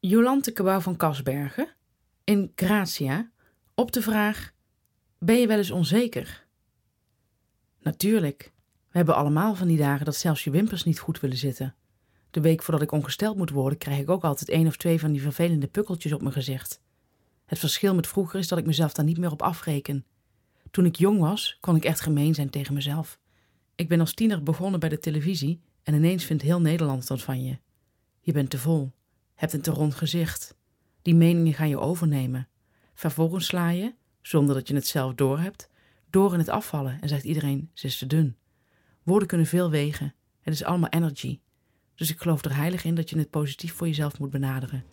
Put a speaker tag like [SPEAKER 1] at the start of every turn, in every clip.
[SPEAKER 1] Jolante Cabau van Kasbergen in Gratia op de vraag: Ben je wel eens onzeker? Natuurlijk. We hebben allemaal van die dagen dat zelfs je wimpers niet goed willen zitten. De week voordat ik ongesteld moet worden, krijg ik ook altijd één of twee van die vervelende pukkeltjes op mijn gezicht. Het verschil met vroeger is dat ik mezelf daar niet meer op afreken. Toen ik jong was, kon ik echt gemeen zijn tegen mezelf. Ik ben als tiener begonnen bij de televisie en ineens vindt heel Nederland dat van je. Je bent te vol, hebt een te rond gezicht. Die meningen gaan je overnemen. Vervolgens sla je, zonder dat je het zelf doorhebt, door in het afvallen en zegt iedereen: ze is te dun. Woorden kunnen veel wegen. Het is allemaal energy. Dus ik geloof er heilig in dat je het positief voor jezelf moet benaderen.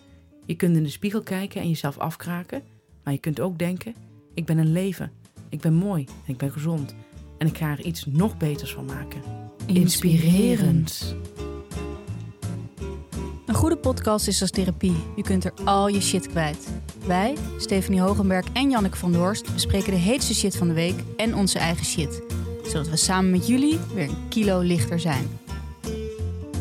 [SPEAKER 1] Je kunt in de spiegel kijken en jezelf afkraken, maar je kunt ook denken: ik ben een leven, ik ben mooi en ik ben gezond en ik ga er iets nog beters van maken. Inspirerend.
[SPEAKER 2] Een goede podcast is als therapie. Je kunt er al je shit kwijt. Wij, Stefanie Hogenberg en Janneke van der Horst, bespreken de heetste shit van de week en onze eigen shit. Zodat we samen met jullie weer een kilo lichter zijn.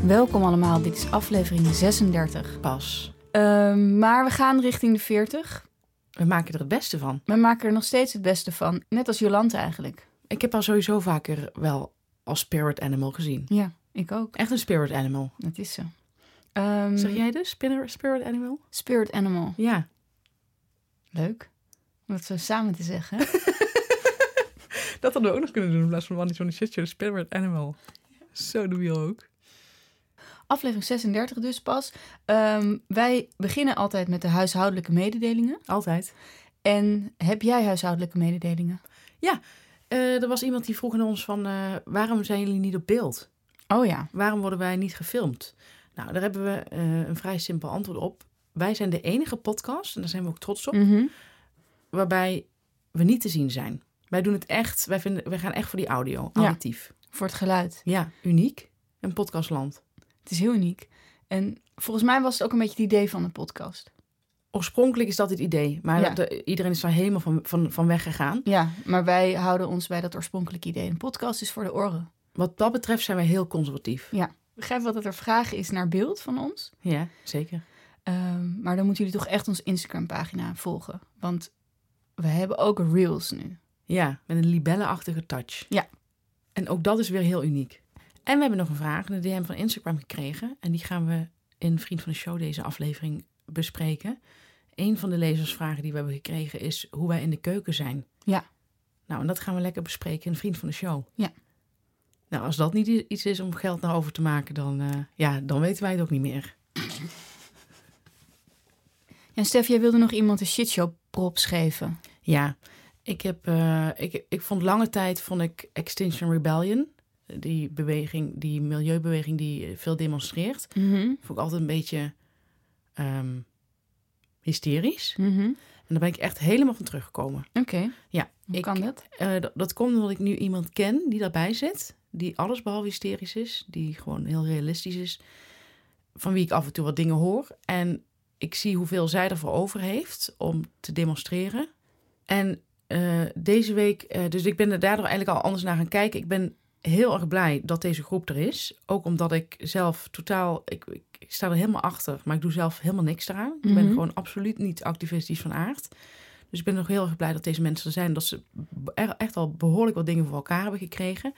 [SPEAKER 2] Welkom allemaal, dit is aflevering 36.
[SPEAKER 1] Pas.
[SPEAKER 2] Ehm, maar we gaan richting de 40.
[SPEAKER 1] We maken er het beste van.
[SPEAKER 2] We maken er nog steeds het beste van. Net als Jolante eigenlijk.
[SPEAKER 1] Ik heb haar sowieso vaker wel als spirit animal gezien.
[SPEAKER 2] Ja, ik ook.
[SPEAKER 1] Echt een spirit animal.
[SPEAKER 2] Dat is ze. Ehm,
[SPEAKER 1] Zeg jij dus spinner- spirit animal?
[SPEAKER 2] Spirit Animal.
[SPEAKER 1] Ja.
[SPEAKER 2] Leuk. Om dat zo samen te zeggen.
[SPEAKER 1] Dat hadden we ook nog kunnen doen in plaats van Wanny Johnny Shit Show, spirit animal. Zo doe je ook.
[SPEAKER 2] Aflevering 36 dus pas. Ehm, wij beginnen altijd met de huishoudelijke mededelingen.
[SPEAKER 1] Altijd.
[SPEAKER 2] En heb jij huishoudelijke mededelingen?
[SPEAKER 1] Eh, er was iemand die vroeg aan ons van, eh, waarom zijn jullie niet op beeld?
[SPEAKER 2] Oh ja.
[SPEAKER 1] Waarom worden wij niet gefilmd? Nou, daar hebben we eh, een vrij simpel antwoord op. Wij zijn de enige podcast, en daar zijn we ook trots
[SPEAKER 2] Mhm.
[SPEAKER 1] op, waarbij we niet te zien zijn. Wij doen het echt, wij, vinden, wij gaan echt voor die audio,
[SPEAKER 2] Ja.
[SPEAKER 1] auditief.
[SPEAKER 2] Voor het geluid.
[SPEAKER 1] Ja, uniek. Een podcastland.
[SPEAKER 2] Het is heel uniek. En volgens mij was het ook een beetje het idee van de podcast.
[SPEAKER 1] Oorspronkelijk is dat het idee, maar
[SPEAKER 2] Ja.
[SPEAKER 1] dat- de- iedereen is daar helemaal van, van, van weggegaan.
[SPEAKER 2] Ja, maar wij houden ons bij dat oorspronkelijke idee. Een podcast is voor de oren.
[SPEAKER 1] Wat dat betreft zijn wij heel conservatief.
[SPEAKER 2] Begrijp wel dat er vraag is naar beeld van ons.
[SPEAKER 1] Ja, zeker.
[SPEAKER 2] Ehm, maar dan moeten jullie toch echt onze Instagram pagina volgen. Want we hebben ook reels nu.
[SPEAKER 1] Ja, met een libellenachtige touch.
[SPEAKER 2] Ja.
[SPEAKER 1] En ook dat is weer heel uniek. En we hebben nog een vraag in de DM van Instagram gekregen. En die gaan we in Vriend van de Show deze aflevering bespreken. Een van de lezersvragen die we hebben gekregen is hoe wij in de keuken zijn.
[SPEAKER 2] Ja.
[SPEAKER 1] Nou, en dat gaan we lekker bespreken in Vriend van de Show.
[SPEAKER 2] Ja.
[SPEAKER 1] Nou, als dat niet i- iets is om geld naar over te maken, dan, eh, ja, dan weten wij het ook niet meer.
[SPEAKER 2] En Stef, jij wilde nog iemand een shitshow props geven.
[SPEAKER 1] Ja, ik, heb, eh, ik, ik vond lange tijd vond ik Extinction Rebellion, die beweging, die milieubeweging die veel demonstreert,
[SPEAKER 2] Mhm.
[SPEAKER 1] vond ik altijd een beetje ehm, hysterisch.
[SPEAKER 2] Mhm.
[SPEAKER 1] En daar ben ik echt helemaal van teruggekomen.
[SPEAKER 2] Oké,
[SPEAKER 1] Ja,
[SPEAKER 2] hoe
[SPEAKER 1] ik,
[SPEAKER 2] kan dat?
[SPEAKER 1] eh, dat, dat komt omdat ik nu iemand ken die daarbij zit, die alles behalve hysterisch is, die gewoon heel realistisch is, van wie ik af en toe wat dingen hoor. En ik zie hoeveel zij ervoor over heeft om te demonstreren. En eh, deze week, eh, dus ik ben er daardoor eigenlijk al anders naar gaan kijken. Ik ben heel erg blij dat deze groep er is. Ook omdat ik zelf totaal, ik, ik, ik sta er helemaal achter, maar ik doe zelf helemaal niks eraan. Ik ben
[SPEAKER 2] Mhm.
[SPEAKER 1] gewoon absoluut niet activistisch van aard. Dus ik ben nog heel erg blij dat deze mensen er zijn. Dat ze be- er- echt al behoorlijk wat dingen voor elkaar hebben gekregen.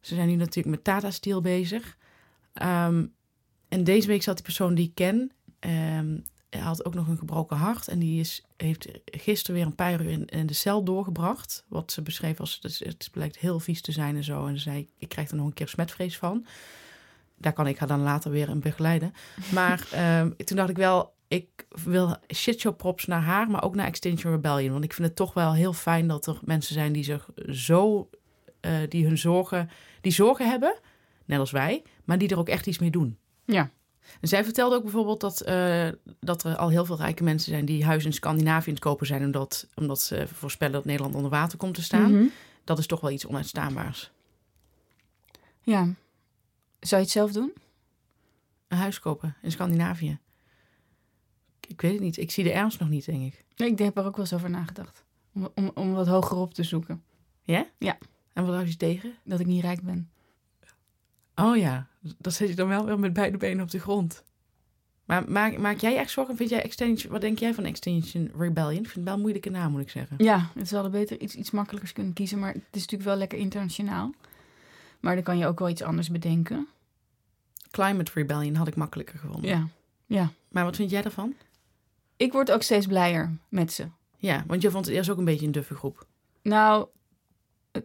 [SPEAKER 1] Ze zijn nu natuurlijk met Tata Steel bezig. Ehm, en deze week zat die persoon die ik ken. ehm, hij had ook nog een gebroken hart. En die is, heeft gisteren weer een paar uur in, in de cel doorgebracht. Wat ze beschreef als het, het blijkt heel vies te zijn en zo. En ze zei: Ik krijg er nog een keer smetvrees van. Daar kan ik haar dan later weer in begeleiden. Maar ehm, toen dacht ik wel: Ik wil shitshow props naar haar, maar ook naar Extinction Rebellion. Want ik vind het toch wel heel fijn dat er mensen zijn die zich zo. eh, die hun zorgen, die zorgen hebben, net als wij, maar die er ook echt iets mee doen.
[SPEAKER 2] Ja.
[SPEAKER 1] En zij vertelde ook bijvoorbeeld dat, eh, dat er al heel veel rijke mensen zijn die huizen in Scandinavië aan het kopen zijn, omdat, omdat ze voorspellen dat Nederland onder water komt te staan.
[SPEAKER 2] Mhm.
[SPEAKER 1] Dat is toch wel iets onuitstaanbaars.
[SPEAKER 2] Ja. Zou je het zelf doen?
[SPEAKER 1] Een huis kopen in Scandinavië. Ik- Ik weet het niet. Ik zie de ernst nog niet, denk ik.
[SPEAKER 2] Nee, ik heb er ook wel eens over nagedacht. Om, om, om wat hoger op te zoeken.
[SPEAKER 1] Ja?
[SPEAKER 2] Ja.
[SPEAKER 1] En wat houdt je tegen?
[SPEAKER 2] Dat ik niet rijk ben.
[SPEAKER 1] Oh ja, dan zit je dan wel weer met beide benen op de grond. Maar maak, maak jij echt zorgen? Vind jij Extinction, wat denk jij van Extinction Rebellion? Ik vind het wel een moeilijke naam, moet ik zeggen.
[SPEAKER 2] Ja, het hadden beter iets, iets makkelijkers kunnen kiezen, maar het is natuurlijk wel lekker internationaal. Maar dan kan je ook wel iets anders bedenken.
[SPEAKER 1] Climate Rebellion had ik makkelijker gevonden.
[SPEAKER 2] Ja.
[SPEAKER 1] Maar wat vind jij daarvan?
[SPEAKER 2] Ik word ook steeds blijer met ze.
[SPEAKER 1] Ja, want je vond het eerst ook een beetje een duffe groep.
[SPEAKER 2] Nou, het,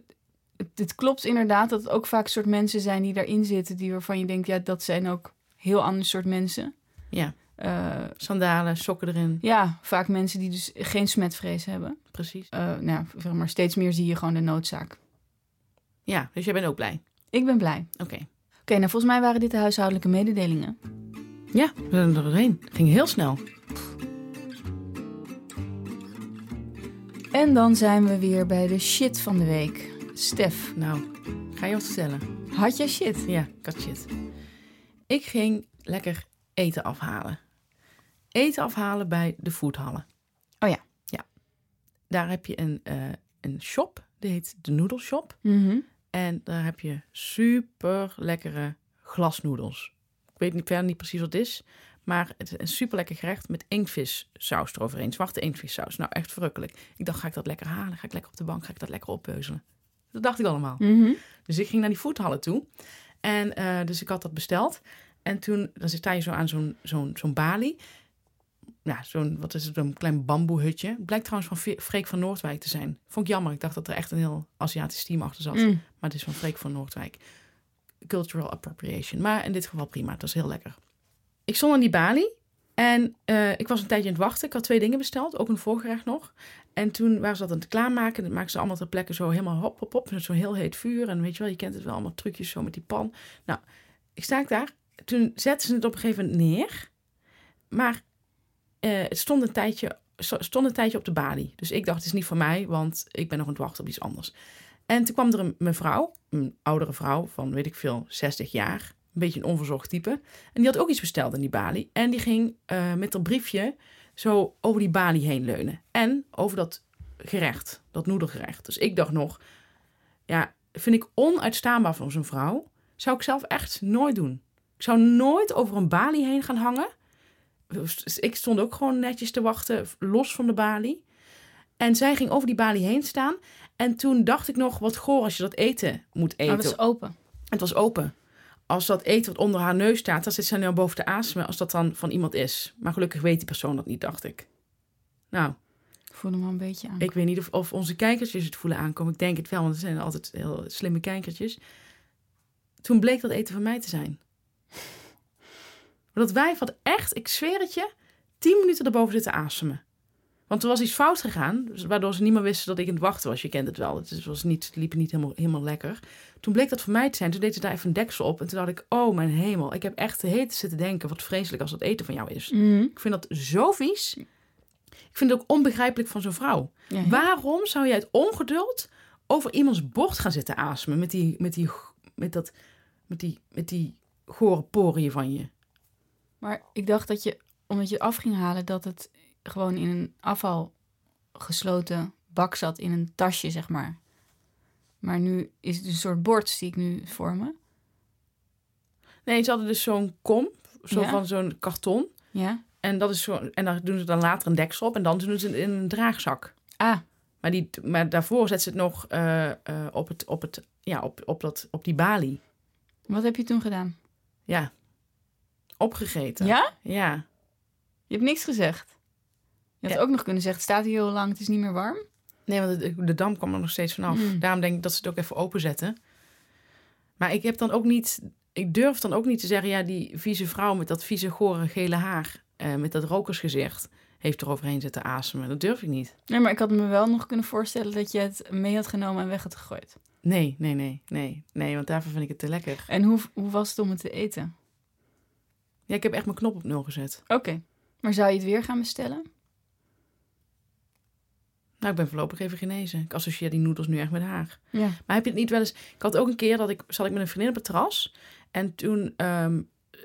[SPEAKER 2] het, het klopt inderdaad dat het ook vaak soort mensen zijn die daarin zitten, die waarvan je denkt, ja, dat zijn ook heel ander soort mensen.
[SPEAKER 1] Ja.
[SPEAKER 2] Eh,
[SPEAKER 1] Sandalen, sokken erin.
[SPEAKER 2] ja, vaak mensen die dus geen smetvrees hebben.
[SPEAKER 1] Precies.
[SPEAKER 2] Eh, nou, ja, zeg maar, steeds meer zie je gewoon de noodzaak.
[SPEAKER 1] Ja, dus jij bent ook blij.
[SPEAKER 2] Ik ben blij.
[SPEAKER 1] Oké.
[SPEAKER 2] Oké, nou volgens mij waren dit de huishoudelijke mededelingen.
[SPEAKER 1] Ja, we zijn er doorheen. Ging heel snel.
[SPEAKER 2] En dan zijn we weer bij de shit van de week. Stef,
[SPEAKER 1] Nou, ga je wat vertellen?
[SPEAKER 2] had jij shit?
[SPEAKER 1] Ja, cut shit. Ik ging lekker eten afhalen. Eten afhalen bij de foodhallen.
[SPEAKER 2] Oh ja.
[SPEAKER 1] Ja. Daar heb je een, eh, een shop, die heet de Noodle Shop.
[SPEAKER 2] Mhm,
[SPEAKER 1] En daar heb je super lekkere glasnoedels. Ik weet niet, verder niet precies wat het is. Maar het is een super lekker gerecht met inktvissaus eroverheen. Zwarte inktvissaus. Nou, echt verrukkelijk. Ik dacht, ga ik dat lekker halen? Ga ik lekker op de bank? Ga ik dat lekker oppeuzelen? Dat dacht ik allemaal.
[SPEAKER 2] Mhm.
[SPEAKER 1] Dus ik ging naar die foodhallen toe. En eh, dus ik had dat besteld. En toen, dan zit je zo aan zo'n zo'n zo'n balie. Ja, zo'n, wat is het, een klein bamboehutje. Het blijkt trouwens van Ve- Freek van Noordwijk te zijn. Vond ik jammer. Ik dacht dat er echt een heel Aziatisch team achter zat.
[SPEAKER 2] Mm.
[SPEAKER 1] Maar het is van Freek van Noordwijk. Cultural appropriation. Maar in dit geval prima. Het was heel lekker. Ik stond aan die balie. En eh, ik was een tijdje aan het wachten. Ik had twee dingen besteld. Ook een voorgerecht nog. En toen waren ze dat aan het klaarmaken. Dat maakten ze allemaal ter plekke zo helemaal hop, hop, hop. Met zo'n heel heet vuur. En weet je wel, je kent het wel. Allemaal trucjes zo met die pan. Nou, ik sta ik daar. Toen zetten ze het op een gegeven moment neer. Maar eh, het stond een tijdje... Stond een tijdje op de balie. Dus ik dacht, het is niet voor mij, want ik ben nog aan het wachten op iets anders. En toen kwam er een mevrouw, een oudere vrouw van weet ik veel, 60 jaar. Een beetje een onverzorgd type. En die had ook iets besteld in die balie. En die ging eh, met dat briefje zo over die balie heen leunen. En over dat gerecht, dat noedelgerecht. Dus ik dacht nog, ja, vind ik onuitstaanbaar van zo'n vrouw. Zou ik zelf echt nooit doen. Ik zou nooit over een balie heen gaan hangen. Dus ik stond ook gewoon netjes te wachten, los van de balie. En zij ging over die balie heen staan. En toen dacht ik nog, wat goor als je dat eten moet
[SPEAKER 2] Oh,
[SPEAKER 1] eten.
[SPEAKER 2] dat is open.
[SPEAKER 1] Het was open. Als dat eten wat onder haar neus staat, dan zit zij nu boven te asemen als dat dan van iemand is. Maar gelukkig weet die persoon dat niet, dacht ik. Nou,
[SPEAKER 2] Ik voel hem al een beetje aan.
[SPEAKER 1] ik weet niet of, of onze kijkertjes het voelen aankomen. Ik denk het wel, want het zijn altijd heel slimme kijkertjes. Toen bleek dat eten van mij te zijn. Maar dat wijf had echt, ik zweer het je, tien minuten erboven zitten asemen. Want er was iets fout gegaan, dus waardoor ze niet meer wisten dat ik in het wachten was. Je kent het wel, het is- was niet, het liep niet helemaal, helemaal lekker. Toen bleek dat voor mij te zijn. Toen deed ze daar even een deksel op. En toen dacht ik, oh mijn hemel, ik heb echt de hete zitten denken. Wat vreselijk als dat eten van jou is.
[SPEAKER 2] Mhm.
[SPEAKER 1] Ik vind dat zo vies. Ik vind het ook onbegrijpelijk van zo'n vrouw.
[SPEAKER 2] Ja,
[SPEAKER 1] Waarom zou jij het ongeduld over iemands bord gaan zitten aasmen met die, met die, met dat, met die, met die gore poriën van je?
[SPEAKER 2] Maar ik dacht dat je, omdat je het af ging halen, dat het gewoon in een afval gesloten bak zat in een tasje, zeg maar. Maar nu is het een soort bord, zie ik nu voor me.
[SPEAKER 1] Nee, ze hadden dus zo'n kom, zo
[SPEAKER 2] Ja.
[SPEAKER 1] van zo'n karton.
[SPEAKER 2] Ja?
[SPEAKER 1] En, dat is zo, en daar doen ze dan later een deksel op en dan doen ze het in een draagzak.
[SPEAKER 2] Ah,
[SPEAKER 1] Maar, die, maar daarvoor zet ze het nog eh, eh, op, het, op, het, ja, op, op, dat, op die balie.
[SPEAKER 2] wat heb je toen gedaan?
[SPEAKER 1] Ja, opgegeten.
[SPEAKER 2] Ja?
[SPEAKER 1] ja.
[SPEAKER 2] Je hebt niks gezegd. Je had
[SPEAKER 1] Ja.
[SPEAKER 2] ook nog kunnen zeggen, het staat hier heel lang, het is niet meer warm.
[SPEAKER 1] Nee, want de, de dam kwam er nog steeds vanaf.
[SPEAKER 2] Mm.
[SPEAKER 1] Daarom denk ik dat ze het ook even openzetten. Maar ik heb dan ook niet... Ik durf dan ook niet te zeggen... Ja, die vieze vrouw met dat vieze, gore, gele haar... eh, met dat rokersgezicht... heeft eroverheen zitten asemen. Dat durf ik niet.
[SPEAKER 2] Nee, maar ik had me wel nog kunnen voorstellen dat je het mee had genomen en weg had gegooid.
[SPEAKER 1] Nee, nee, nee, nee. Nee, want daarvoor vind ik het te lekker.
[SPEAKER 2] En hoe, hoe was het om het te eten?
[SPEAKER 1] Ja, ik heb echt mijn knop op nul gezet.
[SPEAKER 2] Oké. Maar zou je het weer gaan bestellen?
[SPEAKER 1] Nou, ik ben voorlopig even genezen. Ik associeer die noedels nu echt met haar.
[SPEAKER 2] Ja.
[SPEAKER 1] Maar heb je het niet wel eens... Ik had ook een keer dat ik... Zat ik met een vriendin op het terras. En toen ehm,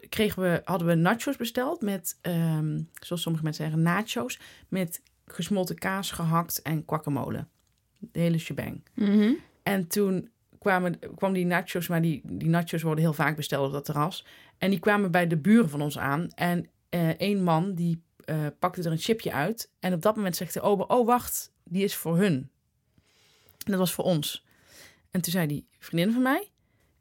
[SPEAKER 1] kregen we, hadden we nachos besteld met... ehm, zoals sommige mensen zeggen, nachos. Met gesmolten kaas, gehakt en guacamole. De hele shebang.
[SPEAKER 2] Mhm.
[SPEAKER 1] En toen kwamen, kwam die nachos... Maar die, die nachos worden heel vaak besteld op dat terras. En die kwamen bij de buren van ons aan. En eh, eh één man die eh, pakte er een chipje uit. En op dat moment zegt de ober, oh wacht, die is voor hun. En dat was voor ons. En toen zei die vriendin van mij,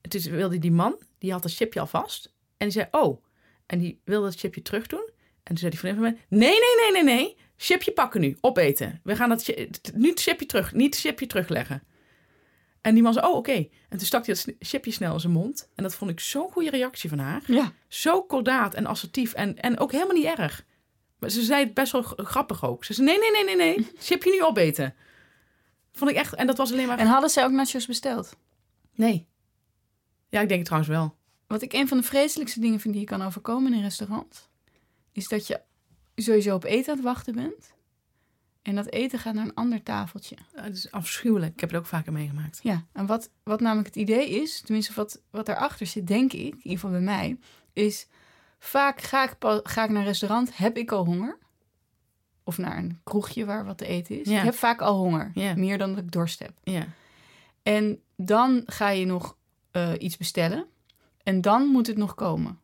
[SPEAKER 1] en toen wilde die man, die had dat chipje al vast. En die zei, oh. En die wilde dat chipje terug doen. En toen zei die vriendin van mij, nee, nee, nee, nee, nee. Chipje pakken nu, opeten. We gaan dat, chi- t- nu het chipje terug, niet het chipje terugleggen. En die man zei, oh, oké. En toen stak hij dat sn- chipje snel in zijn mond. En dat vond ik zo'n goede reactie van haar
[SPEAKER 2] Ja.
[SPEAKER 1] zo kordaat en assertief en, en ook helemaal niet erg. Maar ze zei het best wel g- grappig ook. Ze zei, nee, nee, nee, nee, nee, chipje nu opeten. Vond ik echt, en dat was alleen maar...
[SPEAKER 2] En hadden zij ook nachos besteld?
[SPEAKER 1] Nee. Ja, ik denk het trouwens wel.
[SPEAKER 2] Wat ik een van de vreselijkste dingen vind die je kan overkomen in een restaurant, is dat je sowieso op eten aan het wachten bent. En dat eten gaat naar een ander tafeltje.
[SPEAKER 1] Ja, Het is afschuwelijk. Ik heb het ook vaker meegemaakt.
[SPEAKER 2] Ja, en wat, wat namelijk het idee is, tenminste wat, wat daarachter zit, denk ik, in ieder geval bij mij, is vaak ga ik, pa- ga ik naar een restaurant, heb ik al honger. Of naar een kroegje waar wat te eten is.
[SPEAKER 1] Ja.
[SPEAKER 2] Ik heb vaak al honger,
[SPEAKER 1] Ja.
[SPEAKER 2] meer dan dat ik dorst heb.
[SPEAKER 1] Ja.
[SPEAKER 2] En dan ga je nog eh, iets bestellen. En dan moet het nog komen.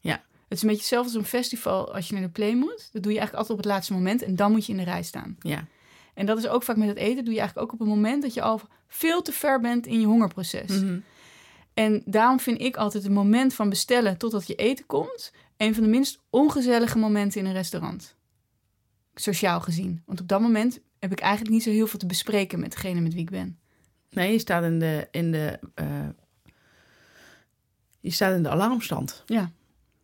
[SPEAKER 1] Ja.
[SPEAKER 2] Het is een beetje hetzelfde als een festival als je naar de play moet. Dat doe je eigenlijk altijd op het laatste moment. En dan moet je in de rij staan.
[SPEAKER 1] Ja.
[SPEAKER 2] En dat is ook vaak met het eten. doe je eigenlijk ook op het moment dat je al veel te ver bent in je hongerproces.
[SPEAKER 1] Mhm.
[SPEAKER 2] En daarom vind ik altijd het moment van bestellen totdat je eten komt... een van de minst ongezellige momenten in een restaurant. Sociaal gezien. Want op dat moment heb ik eigenlijk niet zo heel veel te bespreken met degene met wie ik ben.
[SPEAKER 1] Nee, je staat in de, in de, eh, je staat in de alarmstand.
[SPEAKER 2] Ja.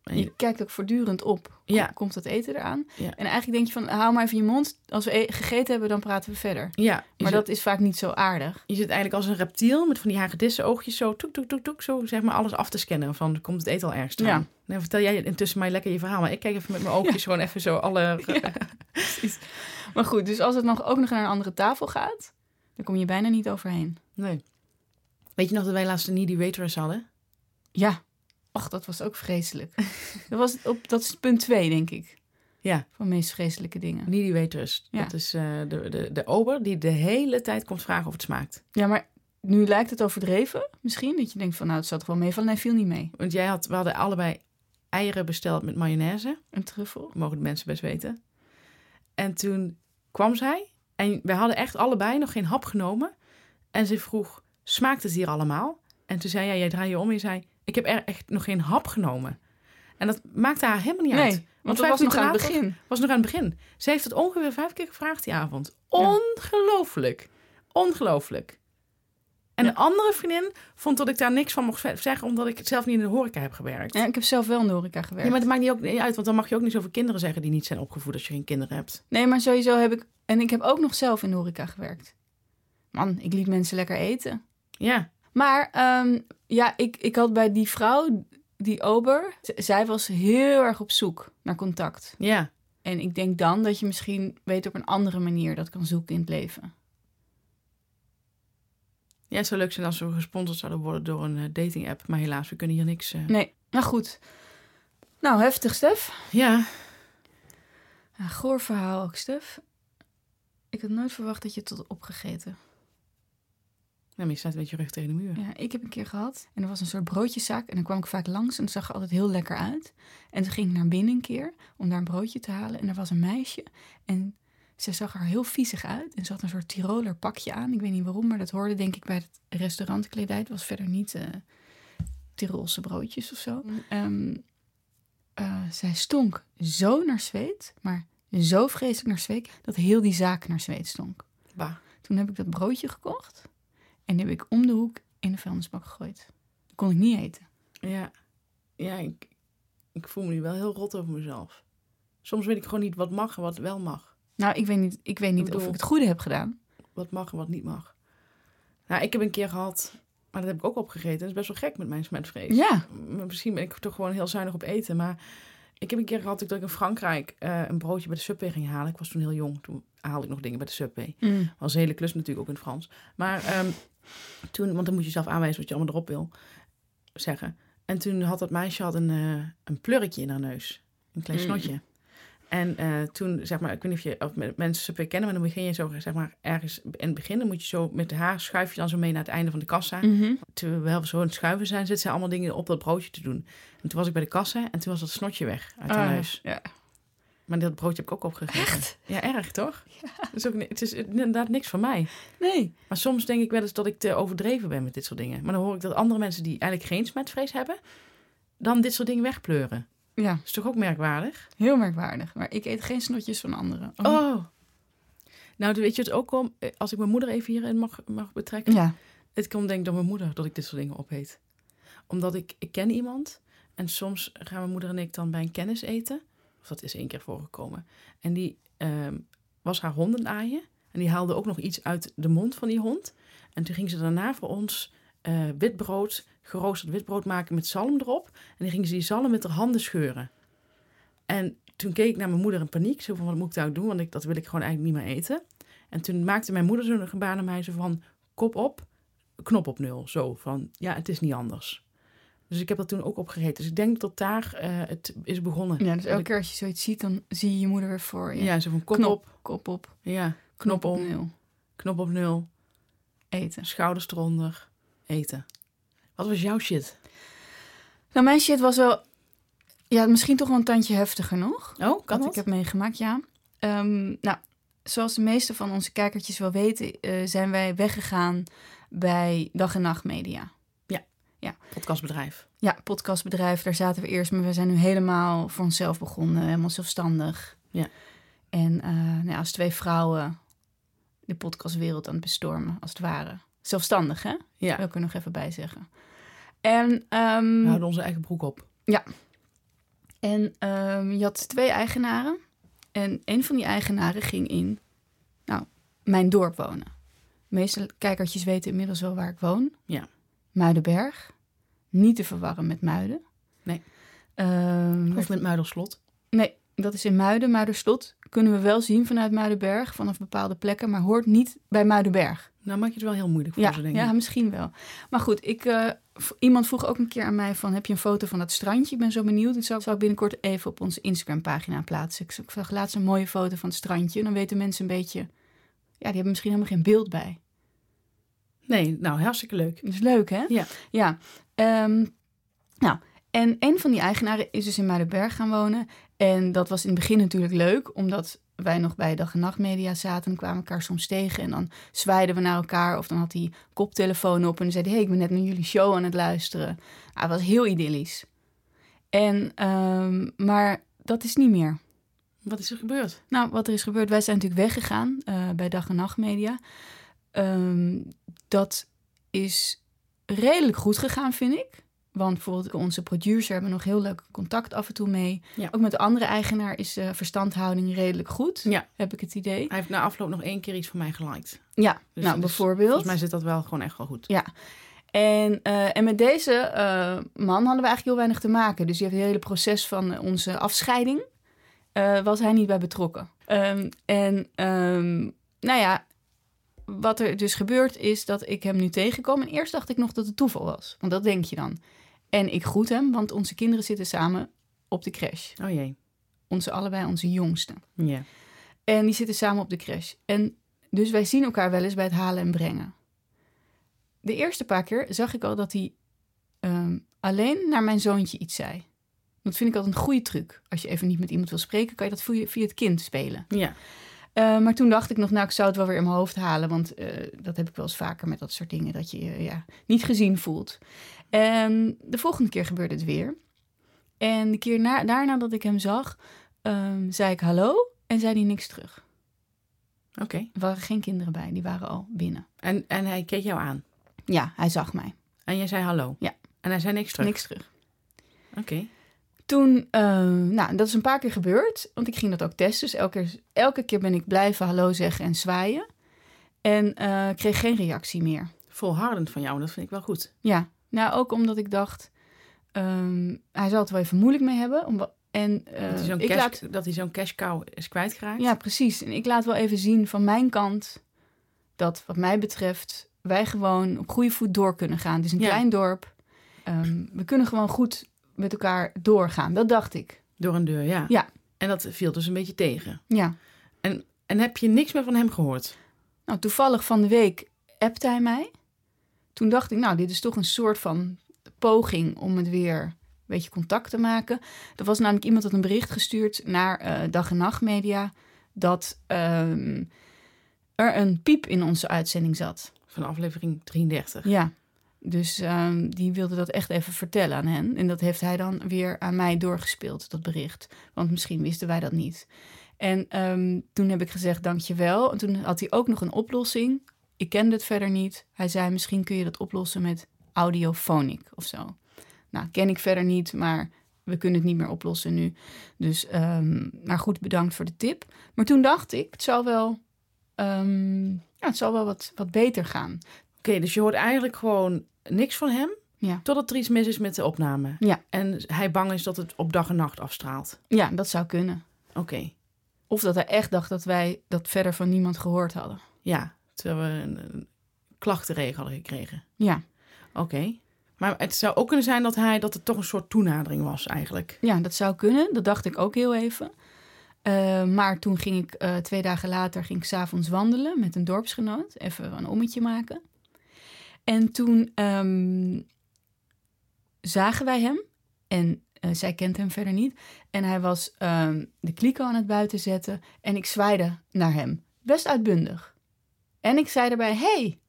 [SPEAKER 1] En
[SPEAKER 2] Je
[SPEAKER 1] je-
[SPEAKER 2] kijkt ook voortdurend op. Kom-
[SPEAKER 1] Ja.
[SPEAKER 2] Komt dat eten eraan?
[SPEAKER 1] Ja.
[SPEAKER 2] En eigenlijk denk je van, hou maar even je mond. Als we e- gegeten hebben, dan praten we verder.
[SPEAKER 1] ja. Je,
[SPEAKER 2] Maar
[SPEAKER 1] zit,
[SPEAKER 2] dat is vaak niet zo aardig.
[SPEAKER 1] je zit eigenlijk als een reptiel met van die hagedissen oogjes zo, toek, toek, toek, toek, zo zeg maar alles af te scannen. Van, komt het eten al ergens aan?
[SPEAKER 2] Ja.
[SPEAKER 1] Nou, vertel jij intussen mij lekker je verhaal, maar ik kijk even met mijn oogjes gewoon even zo alle...
[SPEAKER 2] Maar goed, dus als het nog, ook nog naar een andere tafel gaat, dan kom je bijna niet overheen.
[SPEAKER 1] Nee. Weet je nog dat wij laatst een needy waitress hadden?
[SPEAKER 2] Ja. Och, dat was ook vreselijk. dat, was op, dat is punt twee, denk ik.
[SPEAKER 1] Ja.
[SPEAKER 2] Van de meest vreselijke dingen.
[SPEAKER 1] Needy waitress.
[SPEAKER 2] Ja.
[SPEAKER 1] Dat is eh, de, de, de ober die de hele tijd komt vragen of het smaakt.
[SPEAKER 2] Ja, maar nu lijkt het overdreven misschien. Dat je denkt van, nou, het zat toch wel mee. Van, nee, viel niet mee.
[SPEAKER 1] Want jij had, we hadden allebei eieren besteld met mayonaise.
[SPEAKER 2] Een truffel.
[SPEAKER 1] Dat mogen de mensen best weten. En toen kwam zij. En wij hadden echt allebei nog geen hap genomen. En ze vroeg, smaakt het hier allemaal? En toen zei jij, jij draai je om en je zei... Ik heb er echt nog geen hap genomen. En dat maakte haar helemaal niet
[SPEAKER 2] nee,
[SPEAKER 1] uit.
[SPEAKER 2] want, dat
[SPEAKER 1] vijf
[SPEAKER 2] was nog
[SPEAKER 1] minuten
[SPEAKER 2] aan het
[SPEAKER 1] later-
[SPEAKER 2] begin.
[SPEAKER 1] was nog aan het begin. Ze heeft het ongeveer vijf keer gevraagd die avond. Ongelooflijk. Ongelooflijk. En een andere vriendin vond dat ik daar niks van mocht ve- zeggen... omdat ik zelf niet in de horeca heb gewerkt.
[SPEAKER 2] Ja, ik heb zelf wel in de horeca
[SPEAKER 1] Ja,
[SPEAKER 2] gewerkt.
[SPEAKER 1] maar dat maakt niet ook niet uit, want dan mag je ook niet zoveel kinderen zeggen... die niet zijn opgevoed als je geen kinderen hebt.
[SPEAKER 2] Nee, maar sowieso heb ik... En ik heb ook nog zelf in de horeca gewerkt. Man, ik liet mensen lekker eten.
[SPEAKER 1] Ja,
[SPEAKER 2] Maar ehm, ja, ik, ik had bij die vrouw, die ober... z- Zij was heel erg op zoek naar contact.
[SPEAKER 1] ja.
[SPEAKER 2] En ik denk dan dat je misschien weet op een andere manier dat kan zoeken in het leven.
[SPEAKER 1] Ja, het zou leuk zijn als we gesponsord zouden worden door een eh, dating-app. Maar helaas, we kunnen hier niks... eh,
[SPEAKER 2] Nee, nou goed. Nou, heftig, Stef.
[SPEAKER 1] Ja,
[SPEAKER 2] Ja, goor verhaal ook, Stef. Ik had nooit verwacht dat je het had opgegeten.
[SPEAKER 1] nou, maar je staat een beetje rug tegen de muur.
[SPEAKER 2] Ja, ik heb een keer gehad. En er was een soort broodjeszaak. En dan kwam ik vaak langs en het zag er altijd heel lekker uit. En toen ging ik naar binnen een keer om daar een broodje te halen. En er was een meisje. En ze zag er heel viezig uit. En ze had een soort Tiroler pakje aan. Ik weet niet waarom, maar dat hoorde denk ik bij het restaurantkledij. Het was verder niet eh Tirolse broodjes of zo. Ehm, eh, zij stonk zo naar zweet, maar zo vreselijk naar zweet, dat heel die zaak naar zweet stonk.
[SPEAKER 1] Bah.
[SPEAKER 2] Toen heb ik dat broodje gekocht en die heb ik om de hoek in de vuilnisbak gegooid. Dat kon ik niet eten.
[SPEAKER 1] Ja, ja ik, ik voel me nu wel heel rot over mezelf. Soms weet ik gewoon niet wat mag en wat wel mag.
[SPEAKER 2] Nou, ik weet niet, ik weet niet of
[SPEAKER 1] bedoel-
[SPEAKER 2] ik het goede heb gedaan.
[SPEAKER 1] Wat mag en wat niet mag. Nou, ik heb een keer gehad, maar dat heb ik ook opgegeten. Dat is best wel gek met mijn smetvrees.
[SPEAKER 2] Ja,
[SPEAKER 1] Maar Misschien ben ik toch gewoon heel zuinig op eten. Maar ik heb een keer gehad dat ik in Frankrijk eh, een broodje bij de Subway ging halen. Ik was toen heel jong, toen haalde ik nog dingen bij de Subway. was een hele klus natuurlijk ook in het Frans. Maar ehm, toen, want dan moet je zelf aanwijzen wat je allemaal erop wil zeggen. En toen had dat meisje had een, eh, een plurretje in haar neus. Een klein
[SPEAKER 2] Mm.
[SPEAKER 1] snotje. En eh, toen, zeg maar, ik weet niet of je of me- mensen super kennen, maar dan begin je zo, zeg maar, ergens in het begin, dan moet je zo met haar schuif je dan zo mee naar het einde van de kassa.
[SPEAKER 2] Mhm.
[SPEAKER 1] Terwijl we wel zo aan het schuiven zijn, zitten ze allemaal dingen op dat broodje te doen. En toen was ik bij de kassa en toen was dat snotje weg uit haar
[SPEAKER 2] Ah,
[SPEAKER 1] huis.
[SPEAKER 2] ja.
[SPEAKER 1] Maar dat broodje heb ik ook opgegeten.
[SPEAKER 2] Echt?
[SPEAKER 1] Ja, erg toch? Dat is ook, ni- het is inderdaad niks van mij.
[SPEAKER 2] Nee.
[SPEAKER 1] Maar soms denk ik wel eens dat ik te overdreven ben met dit soort dingen. Maar dan hoor ik dat andere mensen die eigenlijk geen smetvrees hebben, dan dit soort dingen wegpleuren.
[SPEAKER 2] Ja,
[SPEAKER 1] Dat is toch ook merkwaardig?
[SPEAKER 2] heel merkwaardig. Maar ik eet geen snotjes van anderen.
[SPEAKER 1] Oh. Nou, weet je het ook om, eh, als ik mijn moeder even hierin mag, mag betrekken?
[SPEAKER 2] Ja.
[SPEAKER 1] Het komt denk ik door mijn moeder dat ik dit soort dingen opeet. Omdat ik, ik ken iemand en soms gaan mijn moeder en ik dan bij een kennis eten. Of dat is één keer voorgekomen. En die ehm, was haar hond aan het aaien. En die haalde ook nog iets uit de mond van die hond. En toen ging ze daarna voor ons eh, witbrood, geroosterd witbrood maken met zalm erop. En die ging ze die zalm met haar handen scheuren. En toen keek ik naar mijn moeder in paniek. Zo van, wat moet ik nou doen? Want ik, dat wil ik gewoon eigenlijk niet meer eten. En toen maakte mijn moeder zo'n gebaar naar mij. Zo van, kop op, knop op nul. Zo van, ja, het is niet anders. Dus ik heb dat toen ook opgegeten. Dus ik denk dat daar eh, het is begonnen.
[SPEAKER 2] ja, dus elke keer als je zoiets ziet, dan zie je je moeder weer voor je.
[SPEAKER 1] Ja, zo van kop
[SPEAKER 2] knop
[SPEAKER 1] op,
[SPEAKER 2] Kop op.
[SPEAKER 1] ja, knop om,
[SPEAKER 2] nul.
[SPEAKER 1] knop op nul,
[SPEAKER 2] Eten.
[SPEAKER 1] schouders eronder, eten. Wat was jouw shit?
[SPEAKER 2] Nou, mijn shit was wel... Ja, misschien toch wel een tandje heftiger nog.
[SPEAKER 1] Oh,
[SPEAKER 2] wat ik heb meegemaakt, ja. Ehm, nou, zoals de meeste van onze kijkertjes wel weten, eh, zijn wij weggegaan bij Dag en Nacht Media.
[SPEAKER 1] Podcastbedrijf.
[SPEAKER 2] Ja, podcastbedrijf, daar zaten we eerst, maar we zijn nu helemaal voor onszelf begonnen, helemaal zelfstandig.
[SPEAKER 1] Ja.
[SPEAKER 2] En eh, nou ja, als twee vrouwen de podcastwereld aan het bestormen, als het ware. Zelfstandig, hè?
[SPEAKER 1] Ja, Nou,
[SPEAKER 2] Wil ik er nog even bij zeggen. En, ehm,
[SPEAKER 1] we houden onze eigen broek op.
[SPEAKER 2] en ehm, je had twee eigenaren. En een van die eigenaren ging in nou, mijn dorp wonen. De meeste kijkertjes weten inmiddels wel waar ik woon.
[SPEAKER 1] Ja.
[SPEAKER 2] Muidenberg. Niet te verwarren met Muiden.
[SPEAKER 1] Nee.
[SPEAKER 2] Ehm,
[SPEAKER 1] Of met Muiderslot.
[SPEAKER 2] Nee, dat is in Muiden. Muiderslot kunnen we wel zien vanuit Muidenberg, vanaf bepaalde plekken, maar hoort niet bij Muidenberg.
[SPEAKER 1] Nou maak je het wel heel moeilijk voor
[SPEAKER 2] Ja,
[SPEAKER 1] ze, denk ik.
[SPEAKER 2] ja, misschien wel. Maar goed, ik, eh, v- iemand vroeg ook een keer aan mij van, heb je een foto van dat strandje? Ik ben zo benieuwd. Ik zal, zal ik binnenkort even op onze Instagram-pagina plaatsen. Ik z- ik zag laatst een mooie foto van het strandje. Dan weten mensen een beetje, ja, die hebben misschien helemaal geen beeld bij.
[SPEAKER 1] Nee, nou, hartstikke leuk.
[SPEAKER 2] Dat is leuk, hè?
[SPEAKER 1] Ja.
[SPEAKER 2] Ja. Ehm, nou, en een van die eigenaren is dus in Muidenberg gaan wonen. En dat was in het begin natuurlijk leuk, omdat wij nog bij dag- en nachtmedia zaten. En kwamen elkaar soms tegen en dan zwaaiden we naar elkaar. Of dan had hij koptelefoon op en dan zei hij... hey, ik ben net naar jullie show aan het luisteren. Nou, het was heel idyllisch. En, ehm, maar dat is niet meer.
[SPEAKER 1] Wat is er gebeurd?
[SPEAKER 2] Nou, wat er is gebeurd, wij zijn natuurlijk weggegaan eh, bij Dag en Nacht Media. Ehm, dat is redelijk goed gegaan, vind ik. Want bijvoorbeeld onze producer hebben nog heel leuk contact af en toe mee.
[SPEAKER 1] Ja.
[SPEAKER 2] Ook met de andere eigenaar is de verstandhouding redelijk goed,
[SPEAKER 1] Ja.
[SPEAKER 2] heb ik het idee.
[SPEAKER 1] Hij heeft na afloop nog één keer iets van mij geliked.
[SPEAKER 2] Ja,
[SPEAKER 1] Dus dat
[SPEAKER 2] nou
[SPEAKER 1] is-
[SPEAKER 2] bijvoorbeeld.
[SPEAKER 1] Volgens mij zit dat wel gewoon echt wel goed.
[SPEAKER 2] En, eh, en met deze eh, man hadden we eigenlijk heel weinig te maken. Dus die heeft het hele proces van eh, onze afscheiding, eh, was hij niet bij betrokken. Ehm, en ehm, nou ja, wat er dus gebeurt is dat ik hem nu tegenkom. En eerst dacht ik nog dat het toeval was, want dat denk je dan. En ik groet hem, want onze kinderen zitten samen op de crash.
[SPEAKER 1] Oh jee.
[SPEAKER 2] Onze allebei, onze jongste.
[SPEAKER 1] Ja.
[SPEAKER 2] En die zitten samen op de crash. En dus wij zien elkaar wel eens bij het halen en brengen. De eerste paar keer zag ik al dat hij ehm, alleen naar mijn zoontje iets zei. Dat vind ik altijd een goede truc. Als je even niet met iemand wil spreken, kan je dat via, via het kind spelen.
[SPEAKER 1] Ja.
[SPEAKER 2] Eh, maar toen dacht ik nog, nou, ik zou het wel weer in mijn hoofd halen. Want eh, dat heb ik wel eens vaker met dat soort dingen. Dat je je ja, niet gezien voelt. En de volgende keer gebeurde het weer. En de keer na, daarna dat ik hem zag, ehm, zei ik hallo. En zei hij niks terug.
[SPEAKER 1] Oké.
[SPEAKER 2] Er waren geen kinderen bij, die waren al binnen.
[SPEAKER 1] En, en hij keek jou aan.
[SPEAKER 2] Ja, hij zag mij.
[SPEAKER 1] En jij zei hallo.
[SPEAKER 2] Ja.
[SPEAKER 1] En hij zei niks terug.
[SPEAKER 2] Niks terug.
[SPEAKER 1] Oké.
[SPEAKER 2] Toen, eh, nou, dat is een paar keer gebeurd, want ik ging dat ook testen. Dus elke keer, elke keer ben ik blijven hallo zeggen en zwaaien. En eh, kreeg geen reactie meer.
[SPEAKER 1] Volhardend van jou, en dat vind ik wel goed.
[SPEAKER 2] Ja, nou ook omdat ik dacht, ehm, hij zal het wel even moeilijk mee hebben. Om, wa- en eh,
[SPEAKER 1] dat, hij zo'n
[SPEAKER 2] ik
[SPEAKER 1] cash,
[SPEAKER 2] laat
[SPEAKER 1] dat hij zo'n cash cow is kwijtgeraakt.
[SPEAKER 2] Ja, precies. En ik laat wel even zien van mijn kant dat wat mij betreft wij gewoon op goede voet door kunnen gaan. Het is een
[SPEAKER 1] Ja.
[SPEAKER 2] klein dorp. Ehm, we kunnen gewoon goed met elkaar doorgaan. Dat dacht ik.
[SPEAKER 1] Door een deur, ja.
[SPEAKER 2] Ja.
[SPEAKER 1] En dat viel dus een beetje tegen.
[SPEAKER 2] Ja.
[SPEAKER 1] En heb je niks meer van hem gehoord?
[SPEAKER 2] Nou, toevallig van de week appte hij mij. Toen dacht ik, nou, dit is toch een soort van poging om het weer een beetje contact te maken. Er was namelijk iemand had een bericht gestuurd naar eh, Dag en Nacht Media... dat ehm, er een piep in onze uitzending zat.
[SPEAKER 1] Van aflevering 33.
[SPEAKER 2] Ja. Dus ehm, die wilde dat echt even vertellen aan hen. En dat heeft hij dan weer aan mij doorgespeeld, dat bericht. Want misschien wisten wij dat niet. En ehm, toen heb ik gezegd dankjewel. En toen had hij ook nog een oplossing. Ik kende het verder niet. Hij zei misschien kun je dat oplossen met audiofonic of zo. Nou, ken ik verder niet, maar we kunnen het niet meer oplossen nu. Dus, ehm, maar goed, bedankt voor de tip. Maar toen dacht ik, het zal wel, ehm, ja, het zal wel wat, wat beter gaan.
[SPEAKER 1] Oké, dus je hoort eigenlijk gewoon niks van hem.
[SPEAKER 2] Ja.
[SPEAKER 1] Totdat er iets mis is met de opname.
[SPEAKER 2] Ja.
[SPEAKER 1] En hij bang is dat het op dag en nacht afstraalt.
[SPEAKER 2] Ja, dat zou kunnen.
[SPEAKER 1] Oké.
[SPEAKER 2] Of dat hij echt dacht dat wij dat verder van niemand gehoord hadden.
[SPEAKER 1] Ja. Terwijl we een, een klachtenregen hadden gekregen.
[SPEAKER 2] Ja,
[SPEAKER 1] Oké. Maar het zou ook kunnen zijn dat hij dat het toch een soort toenadering was eigenlijk.
[SPEAKER 2] ja dat zou kunnen. Dat dacht ik ook heel even. Eh, maar toen ging ik eh, twee dagen later ging ik 's avonds wandelen met een dorpsgenoot. Even een ommetje maken. En toen ehm, zagen wij hem. En eh, zij kent hem verder niet. En hij was ehm, de kliko aan het buiten zetten. En ik zwaaide naar hem. Best uitbundig. En ik zei daarbij, hey.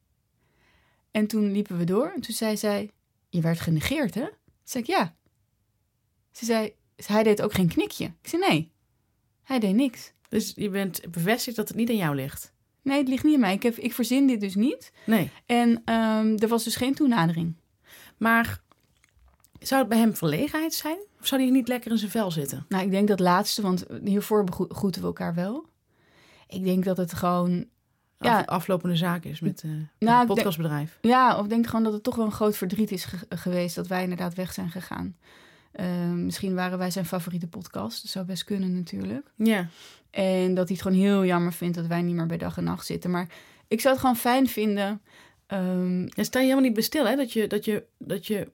[SPEAKER 2] En toen liepen we door. En toen zei zij, je werd genegeerd, hè? Toen zei ik, ja. Ze zei, hij deed ook geen knikje. Ik zei, nee. Hij deed niks.
[SPEAKER 1] Dus je bent bevestigd dat het niet aan jou ligt.
[SPEAKER 2] Nee, het ligt niet aan mij. Ik, heb, ik verzin dit dus niet.
[SPEAKER 1] Nee.
[SPEAKER 2] En ehm, er was dus geen toenadering.
[SPEAKER 1] Maar zou het bij hem verlegenheid zijn? Of zou hij niet lekker in zijn vel zitten?
[SPEAKER 2] Nou, ik denk dat laatste, want hiervoor begroe- groeten we elkaar wel. Ik denk dat het gewoon... Ja.
[SPEAKER 1] Af- aflopende zaak is met eh
[SPEAKER 2] Nou,
[SPEAKER 1] het
[SPEAKER 2] ik denk-
[SPEAKER 1] podcastbedrijf.
[SPEAKER 2] Ja, of ik denk gewoon dat het toch wel een groot verdriet is ge- geweest... dat wij inderdaad weg zijn gegaan. Ehm, misschien waren wij zijn favoriete podcast. Dat zou best kunnen natuurlijk.
[SPEAKER 1] Ja.
[SPEAKER 2] En dat hij het gewoon heel jammer vindt dat wij niet meer bij dag en nacht zitten. Maar ik zou het gewoon fijn vinden. ehm,
[SPEAKER 1] En sta je helemaal niet bij stil, hè? Dat je, dat je, dat je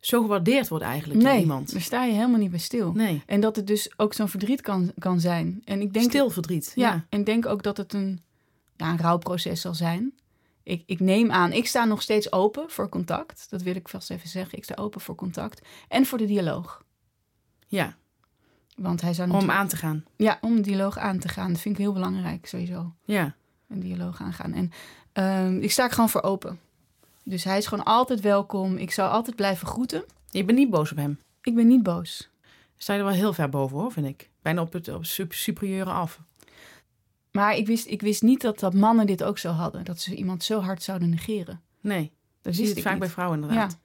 [SPEAKER 1] zo gewaardeerd wordt eigenlijk door
[SPEAKER 2] nee,
[SPEAKER 1] iemand.
[SPEAKER 2] daar sta je helemaal niet bij stil.
[SPEAKER 1] Nee.
[SPEAKER 2] En dat het dus ook zo'n verdriet kan, kan zijn. En ik denk,
[SPEAKER 1] Stil verdriet.
[SPEAKER 2] Ja, en denk ook dat het een, ja, een rouwproces zal zijn. Ik, ik neem aan, ik sta nog steeds open voor contact. Dat wil ik vast even zeggen. Ik sta open voor contact. En voor de dialoog.
[SPEAKER 1] Ja,
[SPEAKER 2] Want hij zou
[SPEAKER 1] om
[SPEAKER 2] natuurlijk-
[SPEAKER 1] aan te gaan.
[SPEAKER 2] ja, om een dialoog aan te gaan. Dat vind ik heel belangrijk sowieso.
[SPEAKER 1] Ja.
[SPEAKER 2] een dialoog aangaan. En ehm, ik sta er gewoon voor open. Dus hij is gewoon altijd welkom. Ik zou altijd blijven groeten.
[SPEAKER 1] Je bent niet boos op hem.
[SPEAKER 2] Ik ben niet boos.
[SPEAKER 1] Sta je er wel heel ver boven, hoor, vind ik. Bijna op het op het sup- superieure af.
[SPEAKER 2] Maar ik wist, ik wist niet dat, dat mannen dit ook zo hadden. Dat ze iemand zo hard zouden negeren.
[SPEAKER 1] Nee,
[SPEAKER 2] Dat
[SPEAKER 1] dat zie je
[SPEAKER 2] wist
[SPEAKER 1] het
[SPEAKER 2] ik
[SPEAKER 1] vaak
[SPEAKER 2] niet.
[SPEAKER 1] bij vrouwen
[SPEAKER 2] ja.
[SPEAKER 1] inderdaad.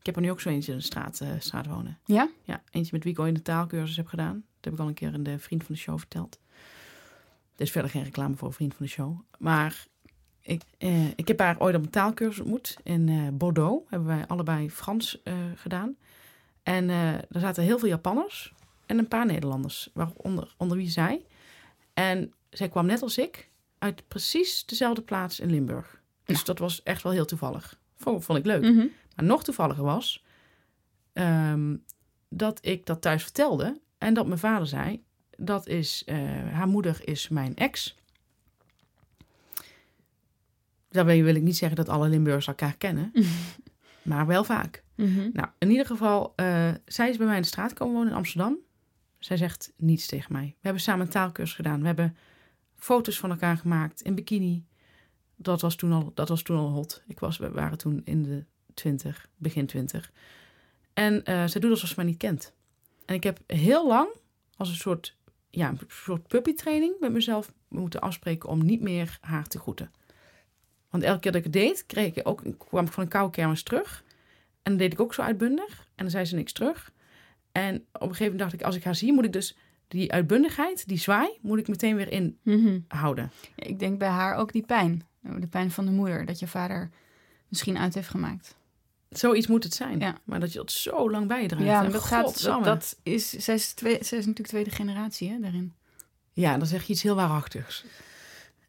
[SPEAKER 1] Ik heb er nu ook zo eentje in de straat, eh, straat wonen.
[SPEAKER 2] Ja?
[SPEAKER 1] Ja, eentje met wie ik ooit een taalkursus heb gedaan. Dat heb ik al een keer in de Vriend van de Show verteld. Er is verder geen reclame voor Vriend van de Show. Maar ik, eh, ik heb haar ooit op een taalkursus ontmoet. In eh, Bordeaux hebben wij allebei Frans eh, gedaan. En eh er zaten heel veel Japanners en een paar Nederlanders, waaronder onder wie zij. En zij kwam net als ik uit precies dezelfde plaats in Limburg. Dus dat was echt wel heel toevallig. Vond, vond ik leuk.
[SPEAKER 2] Mhm.
[SPEAKER 1] Maar nog toevalliger was ehm, dat ik dat thuis vertelde en dat mijn vader zei: dat is, eh, haar moeder is mijn ex. Daarmee wil ik niet zeggen dat alle Limburgers elkaar kennen, maar wel vaak.
[SPEAKER 2] Mhm.
[SPEAKER 1] Nou, in ieder geval, eh, zij is bij mij in de straat komen wonen in Amsterdam. Zij zegt niets tegen mij. We hebben samen een taalkursus gedaan. We hebben foto's van elkaar gemaakt in bikini. Dat was toen al, dat was toen al hot. Ik was, we waren toen in de twintig, begin twintig. En eh, zij doet alsof ze mij niet kent. En ik heb heel lang, als een soort, ja, een soort puppytraining met mezelf moeten afspreken om niet meer haar te groeten. Want elke keer dat ik het deed, kreeg ik ook, kwam ik van een koude kermis terug. En dat deed ik ook zo uitbundig. En dan zei ze niks terug. En op een gegeven moment dacht ik, als ik haar zie, moet ik dus die uitbundigheid, die zwaai, moet ik meteen weer
[SPEAKER 2] Mhm.
[SPEAKER 1] inhouden.
[SPEAKER 2] Ja, ik denk bij haar ook die pijn. De pijn van de moeder. Dat je vader misschien uit heeft gemaakt.
[SPEAKER 1] Zoiets moet het zijn.
[SPEAKER 2] Ja.
[SPEAKER 1] Maar dat je dat zo lang bijdraagt.
[SPEAKER 2] Ja,
[SPEAKER 1] En
[SPEAKER 2] maar dat gaat. Dat,
[SPEAKER 1] godsamme.
[SPEAKER 2] dat is, zij, is twee, zij is natuurlijk tweede generatie hè, daarin.
[SPEAKER 1] Ja, dan zeg je iets heel waarachtigs.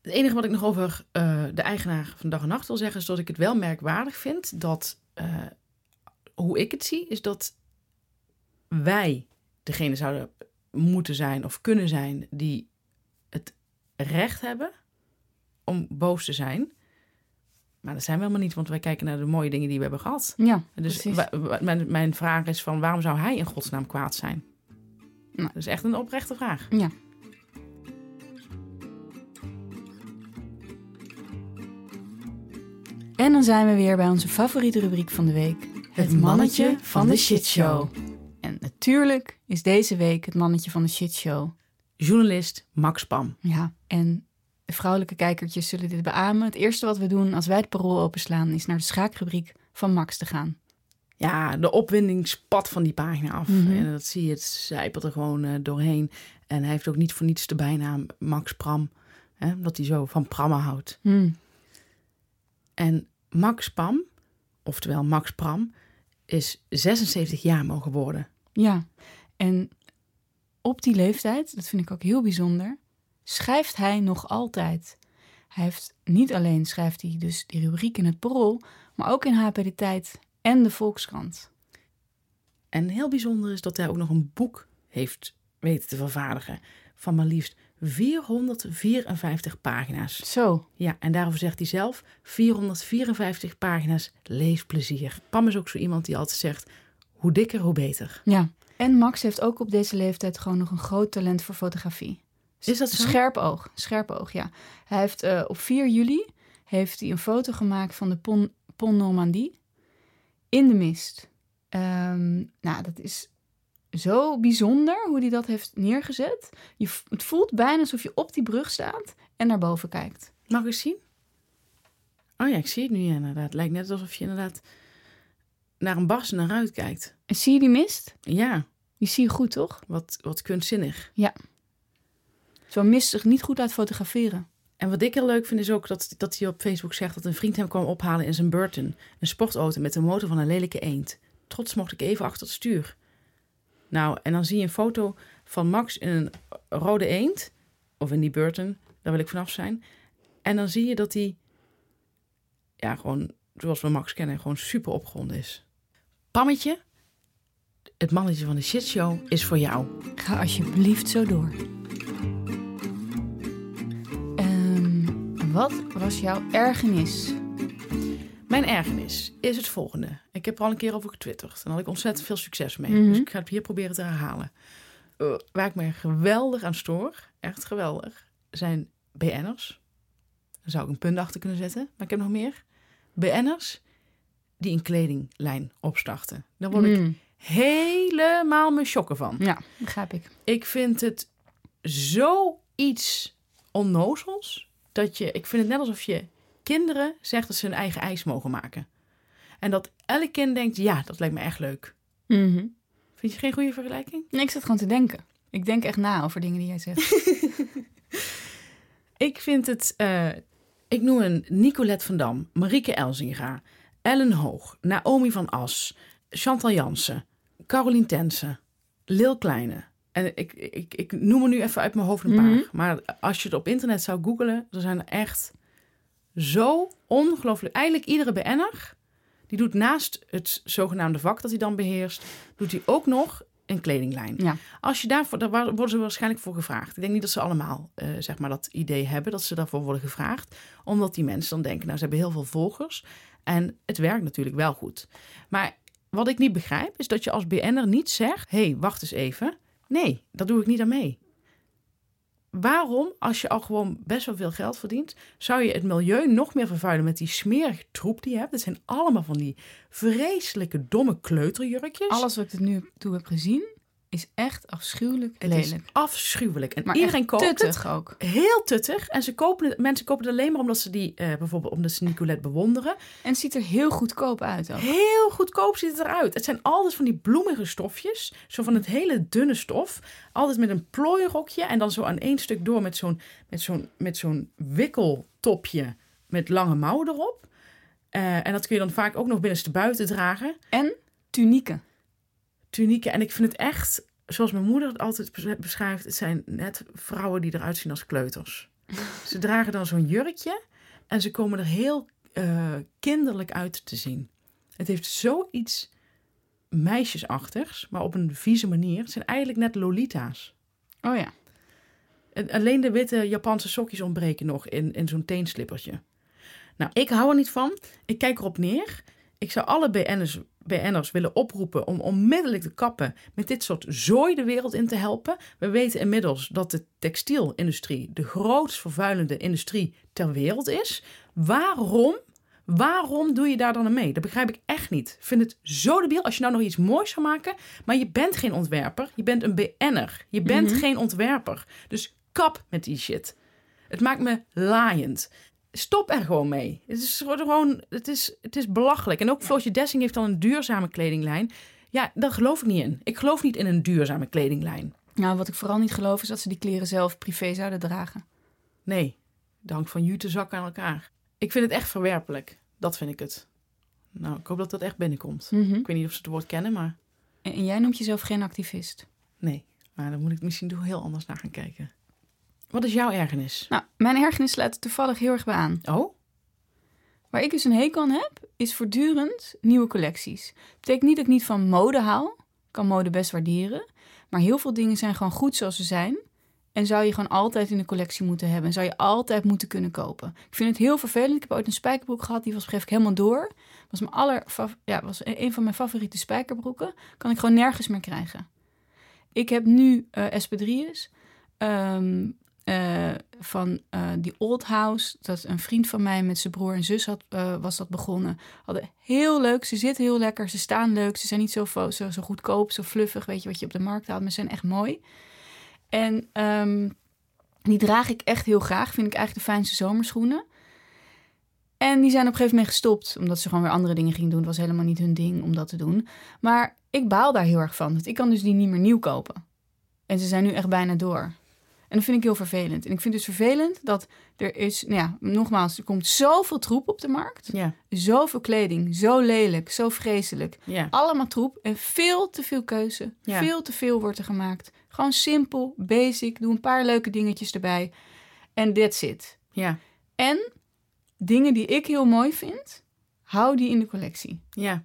[SPEAKER 1] Het enige wat ik nog over eh, de eigenaar van Dag en Nacht wil zeggen... is dat ik het wel merkwaardig vind dat... eh, hoe ik het zie, is dat wij degene zouden moeten zijn of kunnen zijn die het recht hebben om boos te zijn. Maar dat zijn we helemaal niet, want wij kijken naar de mooie dingen die we hebben gehad.
[SPEAKER 2] Ja,
[SPEAKER 1] Dus
[SPEAKER 2] precies.
[SPEAKER 1] wa- wa- mijn, mijn vraag is van waarom zou hij in godsnaam kwaad zijn?
[SPEAKER 2] Nou.
[SPEAKER 1] Dat is echt een oprechte vraag.
[SPEAKER 2] Ja. En dan zijn we weer bij onze favoriete rubriek van de week.
[SPEAKER 1] Het mannetje van de shitshow.
[SPEAKER 2] En natuurlijk is deze week het mannetje van de shitshow.
[SPEAKER 1] Journalist Max Pam.
[SPEAKER 2] Ja, en de vrouwelijke kijkertjes zullen dit beamen. Het eerste wat we doen als wij het parool openslaan... is naar de schaakrubriek van Max te gaan.
[SPEAKER 1] Ja, de opwinding spat van die pagina af.
[SPEAKER 2] Mhm.
[SPEAKER 1] En dat zie je, het zijpelt er gewoon eh, doorheen. En hij heeft ook niet voor niets de bijnaam Max Pram. Hè, omdat hij zo van prammen houdt.
[SPEAKER 2] Hmm.
[SPEAKER 1] En Max Pam, oftewel Max Pram, is 76 jaar mogen worden.
[SPEAKER 2] Ja, en op die leeftijd, dat vind ik ook heel bijzonder, schrijft hij nog altijd. Hij heeft niet alleen schrijft hij dus die rubriek in het Parool, maar ook in HP de Tijd en de Volkskrant.
[SPEAKER 1] En heel bijzonder is dat hij ook nog een boek heeft weten te vervaardigen. Van maar liefst 454 pagina's.
[SPEAKER 2] Zo,
[SPEAKER 1] Ja, en daarover zegt hij zelf: 454 pagina's leesplezier. Pam is ook zo iemand die altijd zegt: hoe dikker, hoe beter.
[SPEAKER 2] ja. En Max heeft ook op deze leeftijd gewoon nog een groot talent voor fotografie.
[SPEAKER 1] Is dat zo?
[SPEAKER 2] Scherp oog, scherp oog, ja. Hij heeft eh, op 4 juli heeft hij een foto gemaakt van de Pont, Pont Normandie in de mist. Ehm, nou, dat is zo bijzonder hoe hij dat heeft neergezet. Je, v- het voelt bijna alsof je op die brug staat en naar boven kijkt.
[SPEAKER 1] Mag ik eens zien? Oh ja, ik zie het nu inderdaad. Het lijkt net alsof je inderdaad naar een bars naar uit kijkt.
[SPEAKER 2] En zie je die mist?
[SPEAKER 1] Ja,
[SPEAKER 2] Die zie je goed, toch?
[SPEAKER 1] wat, wat kunstzinnig.
[SPEAKER 2] Zo'n mist zich niet goed uit fotograferen.
[SPEAKER 1] En wat ik heel leuk vind is ook dat, dat hij op Facebook zegt dat een vriend hem kwam ophalen in zijn Burton. Een sportauto met de motor van een lelijke eend. Trots mocht ik even achter het stuur. Nou, en dan zie je een foto van Max in een rode eend. Of in die Burton, daar wil ik vanaf zijn. En dan zie je dat hij, ja, gewoon zoals we Max kennen, gewoon super opgewonden is. Pammetje, het mannetje van de shitshow is voor jou.
[SPEAKER 2] Ga alsjeblieft zo door. Ehm, wat was jouw ergernis?
[SPEAKER 1] Mijn ergernis is het volgende. Ik heb er al een keer over getwitterd. En had ik ontzettend veel succes mee.
[SPEAKER 2] Mhm.
[SPEAKER 1] Dus ik ga het hier proberen te herhalen. Eh, waar ik me geweldig aan stoor, echt geweldig, zijn BN'ers. Daar zou ik een punt achter kunnen zetten, maar ik heb nog meer. BN'ers die een kledinglijn opstarten. Daar word ik
[SPEAKER 2] Hmm.
[SPEAKER 1] helemaal mijn schokken van.
[SPEAKER 2] Ja, begrijp ik.
[SPEAKER 1] Ik vind het zoiets onnozels. Dat je, ik vind het net alsof je kinderen zegt dat ze hun eigen ijs mogen maken. En dat elk kind denkt, ja, dat lijkt me echt leuk.
[SPEAKER 2] Mhm.
[SPEAKER 1] Vind je geen goede vergelijking?
[SPEAKER 2] Nee, ik zat gewoon te denken. Ik denk echt na over dingen die jij zegt.
[SPEAKER 1] Ik vind het, eh, ik noem een Nicolette van Dam, Marieke Elzinga, Ellen Hoog, Naomi van As, Chantal Jansen, Carolien Tensen, Lil Kleine. En ik, ik, ik noem er nu even uit mijn hoofd een paar.
[SPEAKER 2] Mhm.
[SPEAKER 1] Maar als je het op internet zou googelen, dan zijn er echt zo ongelooflijk. Eigenlijk iedere BN'er, die doet naast het zogenaamde vak dat hij dan beheerst, doet hij ook nog een kledinglijn.
[SPEAKER 2] Ja.
[SPEAKER 1] Als je daarvoor, daar wa- worden ze waarschijnlijk voor gevraagd. Ik denk niet dat ze allemaal eh, zeg maar dat idee hebben dat ze daarvoor worden gevraagd. Omdat die mensen dan denken, nou ze hebben heel veel volgers. En het werkt natuurlijk wel goed. Maar wat ik niet begrijp is dat je als BN'er niet zegt... hé, hey, wacht eens even. Nee, dat doe ik niet aan mee. Waarom, als je al gewoon best wel veel geld verdient... zou je het milieu nog meer vervuilen met die smerige troep die je hebt? Dat zijn allemaal van die vreselijke domme kleuterjurkjes.
[SPEAKER 2] Alles wat ik tot nu toe heb gezien is echt afschuwelijk
[SPEAKER 1] Het is
[SPEAKER 2] lelijk.
[SPEAKER 1] afschuwelijk. En
[SPEAKER 2] Maar
[SPEAKER 1] iedereen
[SPEAKER 2] echt
[SPEAKER 1] koopt het.
[SPEAKER 2] tuttig ook.
[SPEAKER 1] heel tuttig. En ze kopen het, mensen kopen het alleen maar omdat ze die eh, bijvoorbeeld omdat ze Nicolette bewonderen.
[SPEAKER 2] En het ziet er heel goedkoop uit ook.
[SPEAKER 1] Heel goedkoop ziet het eruit. Het zijn altijd van die bloemige stofjes. Zo van het hele dunne stof. Altijd met een plooirokje. En dan zo aan één stuk door met zo'n met zo'n, met zo'n wikkeltopje met lange mouw erop. Eh, en dat kun je dan vaak ook nog binnenstebuiten dragen.
[SPEAKER 2] En tunieken.
[SPEAKER 1] Tunieken. En ik vind het echt, zoals mijn moeder het altijd bes- beschrijft, het zijn net vrouwen die eruit zien als kleuters. ze dragen dan zo'n jurkje en ze komen er heel eh, kinderlijk uit te zien. Het heeft zoiets meisjesachtigs, maar op een vieze manier. Het zijn eigenlijk net lolita's.
[SPEAKER 2] Oh ja.
[SPEAKER 1] En Eh, alleen de witte Japanse sokjes ontbreken nog in, in zo'n teenslippertje. Nou, ik hou er niet van. Ik kijk erop neer. Ik zou alle BN'ers, BN'ers willen oproepen om onmiddellijk te kappen met dit soort zooi de wereld in te helpen. We weten inmiddels dat de textielindustrie de grootst vervuilende industrie ter wereld is. Waarom? Waarom doe je daar dan aan mee? Dat begrijp ik echt niet. Ik vind het zo debiel als je nou nog iets moois zou maken. Maar je bent geen ontwerper. Je bent een BN'er. Je bent
[SPEAKER 2] Mhm.
[SPEAKER 1] geen ontwerper. Dus kap met die shit. Het maakt me laaiend. Stop er gewoon mee. Het is gewoon, het is, het is belachelijk. En ook Floortje Dessing heeft dan een duurzame kledinglijn. Ja, daar geloof ik niet in. Ik geloof niet in een duurzame kledinglijn.
[SPEAKER 2] Nou, wat ik vooral niet geloof is dat ze die kleren zelf privé zouden dragen.
[SPEAKER 1] Nee, dat hangt van jute zakken aan elkaar. Ik vind het echt verwerpelijk. Dat vind ik het. Nou, ik hoop dat dat echt binnenkomt.
[SPEAKER 2] Mhm.
[SPEAKER 1] Ik weet niet of ze het woord kennen, maar
[SPEAKER 2] En, en jij noemt jezelf geen activist.
[SPEAKER 1] nee. Maar dan moet ik misschien toch heel anders naar gaan kijken. Wat is jouw ergernis?
[SPEAKER 2] Nou, mijn ergernis sluit er toevallig heel erg bij aan.
[SPEAKER 1] Oh?
[SPEAKER 2] Waar ik dus een hekel aan heb, is voortdurend nieuwe collecties. Betekent niet dat ik niet van mode hou. Ik kan mode best waarderen. Maar heel veel dingen zijn gewoon goed zoals ze zijn. En zou je gewoon altijd in de collectie moeten hebben. En zou je altijd moeten kunnen kopen. Ik vind het heel vervelend. Ik heb ooit een spijkerbroek gehad. Die was op een gegeven moment helemaal door. Was, mijn aller, ja, was e- een van mijn favoriete spijkerbroeken. Kan ik gewoon nergens meer krijgen. Ik heb nu eh SP3's. ehm, eh, van eh die Old House. Dat is een vriend van mij met zijn broer en zus had, eh, was dat begonnen. Hadden heel leuk, ze zitten heel lekker, ze staan leuk. Ze zijn niet zo, fo- zo, zo goedkoop, zo fluffig, weet je, wat je op de markt haalt. Maar ze zijn echt mooi. En ehm, die draag ik echt heel graag. Vind ik eigenlijk de fijnste zomerschoenen. En die zijn op een gegeven moment gestopt, omdat ze gewoon weer andere dingen gingen doen. Het was helemaal niet hun ding om dat te doen. Maar ik baal daar heel erg van. Want ik kan dus die niet meer nieuw kopen. En ze zijn nu echt bijna door. En dat vind ik heel vervelend. En ik vind het dus vervelend dat er is, nou ja, nogmaals, er komt zoveel troep op de markt.
[SPEAKER 1] Ja,
[SPEAKER 2] Zoveel kleding, zo lelijk, zo vreselijk.
[SPEAKER 1] ja.
[SPEAKER 2] Allemaal troep en veel te veel keuze.
[SPEAKER 1] Ja.
[SPEAKER 2] Veel te veel wordt er gemaakt. Gewoon simpel, basic, doe een paar leuke dingetjes erbij. En that's it.
[SPEAKER 1] Ja,
[SPEAKER 2] En dingen die ik heel mooi vind, hou die in de collectie.
[SPEAKER 1] ja.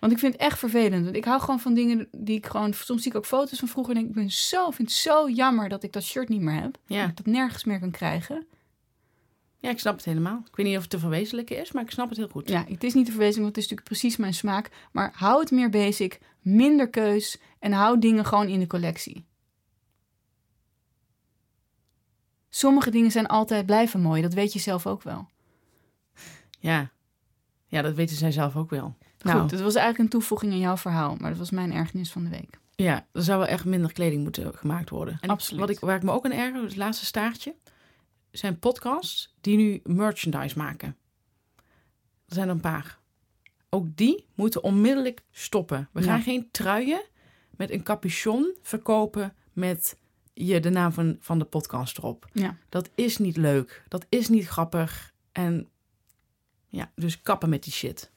[SPEAKER 2] Want ik vind het echt vervelend. Want ik hou gewoon van dingen die ik gewoon... Soms zie ik ook foto's van vroeger en denk ik... Ben zo, vind het zo jammer dat ik dat shirt niet meer heb.
[SPEAKER 1] Ja.
[SPEAKER 2] Dat ik dat nergens meer kan krijgen.
[SPEAKER 1] Ja, ik snap het helemaal. Ik weet niet of het te verwezenlijken is, maar ik snap het heel goed.
[SPEAKER 2] Ja, het is niet de verwezenlijking, want het is natuurlijk precies mijn smaak. Maar hou het meer basic, minder keus... en hou dingen gewoon in de collectie. Sommige dingen zijn altijd blijven mooi. Dat weet je zelf ook wel.
[SPEAKER 1] Ja, ja dat weten zij zelf ook wel.
[SPEAKER 2] Goed, dat was eigenlijk een toevoeging aan jouw verhaal. Maar dat was mijn ergernis van de week.
[SPEAKER 1] Ja, er zou wel echt minder kleding moeten gemaakt worden. En
[SPEAKER 2] Absoluut.
[SPEAKER 1] Wat ik, waar ik me ook aan erger, het laatste staartje, zijn podcasts die nu merchandise maken. Er zijn er een paar. Ook die moeten onmiddellijk stoppen. We
[SPEAKER 2] Ja.
[SPEAKER 1] gaan geen truien met een capuchon verkopen met je, de naam van, van de podcast erop.
[SPEAKER 2] Ja.
[SPEAKER 1] Dat is niet leuk. Dat is niet grappig. En ja, dus kappen met die shit.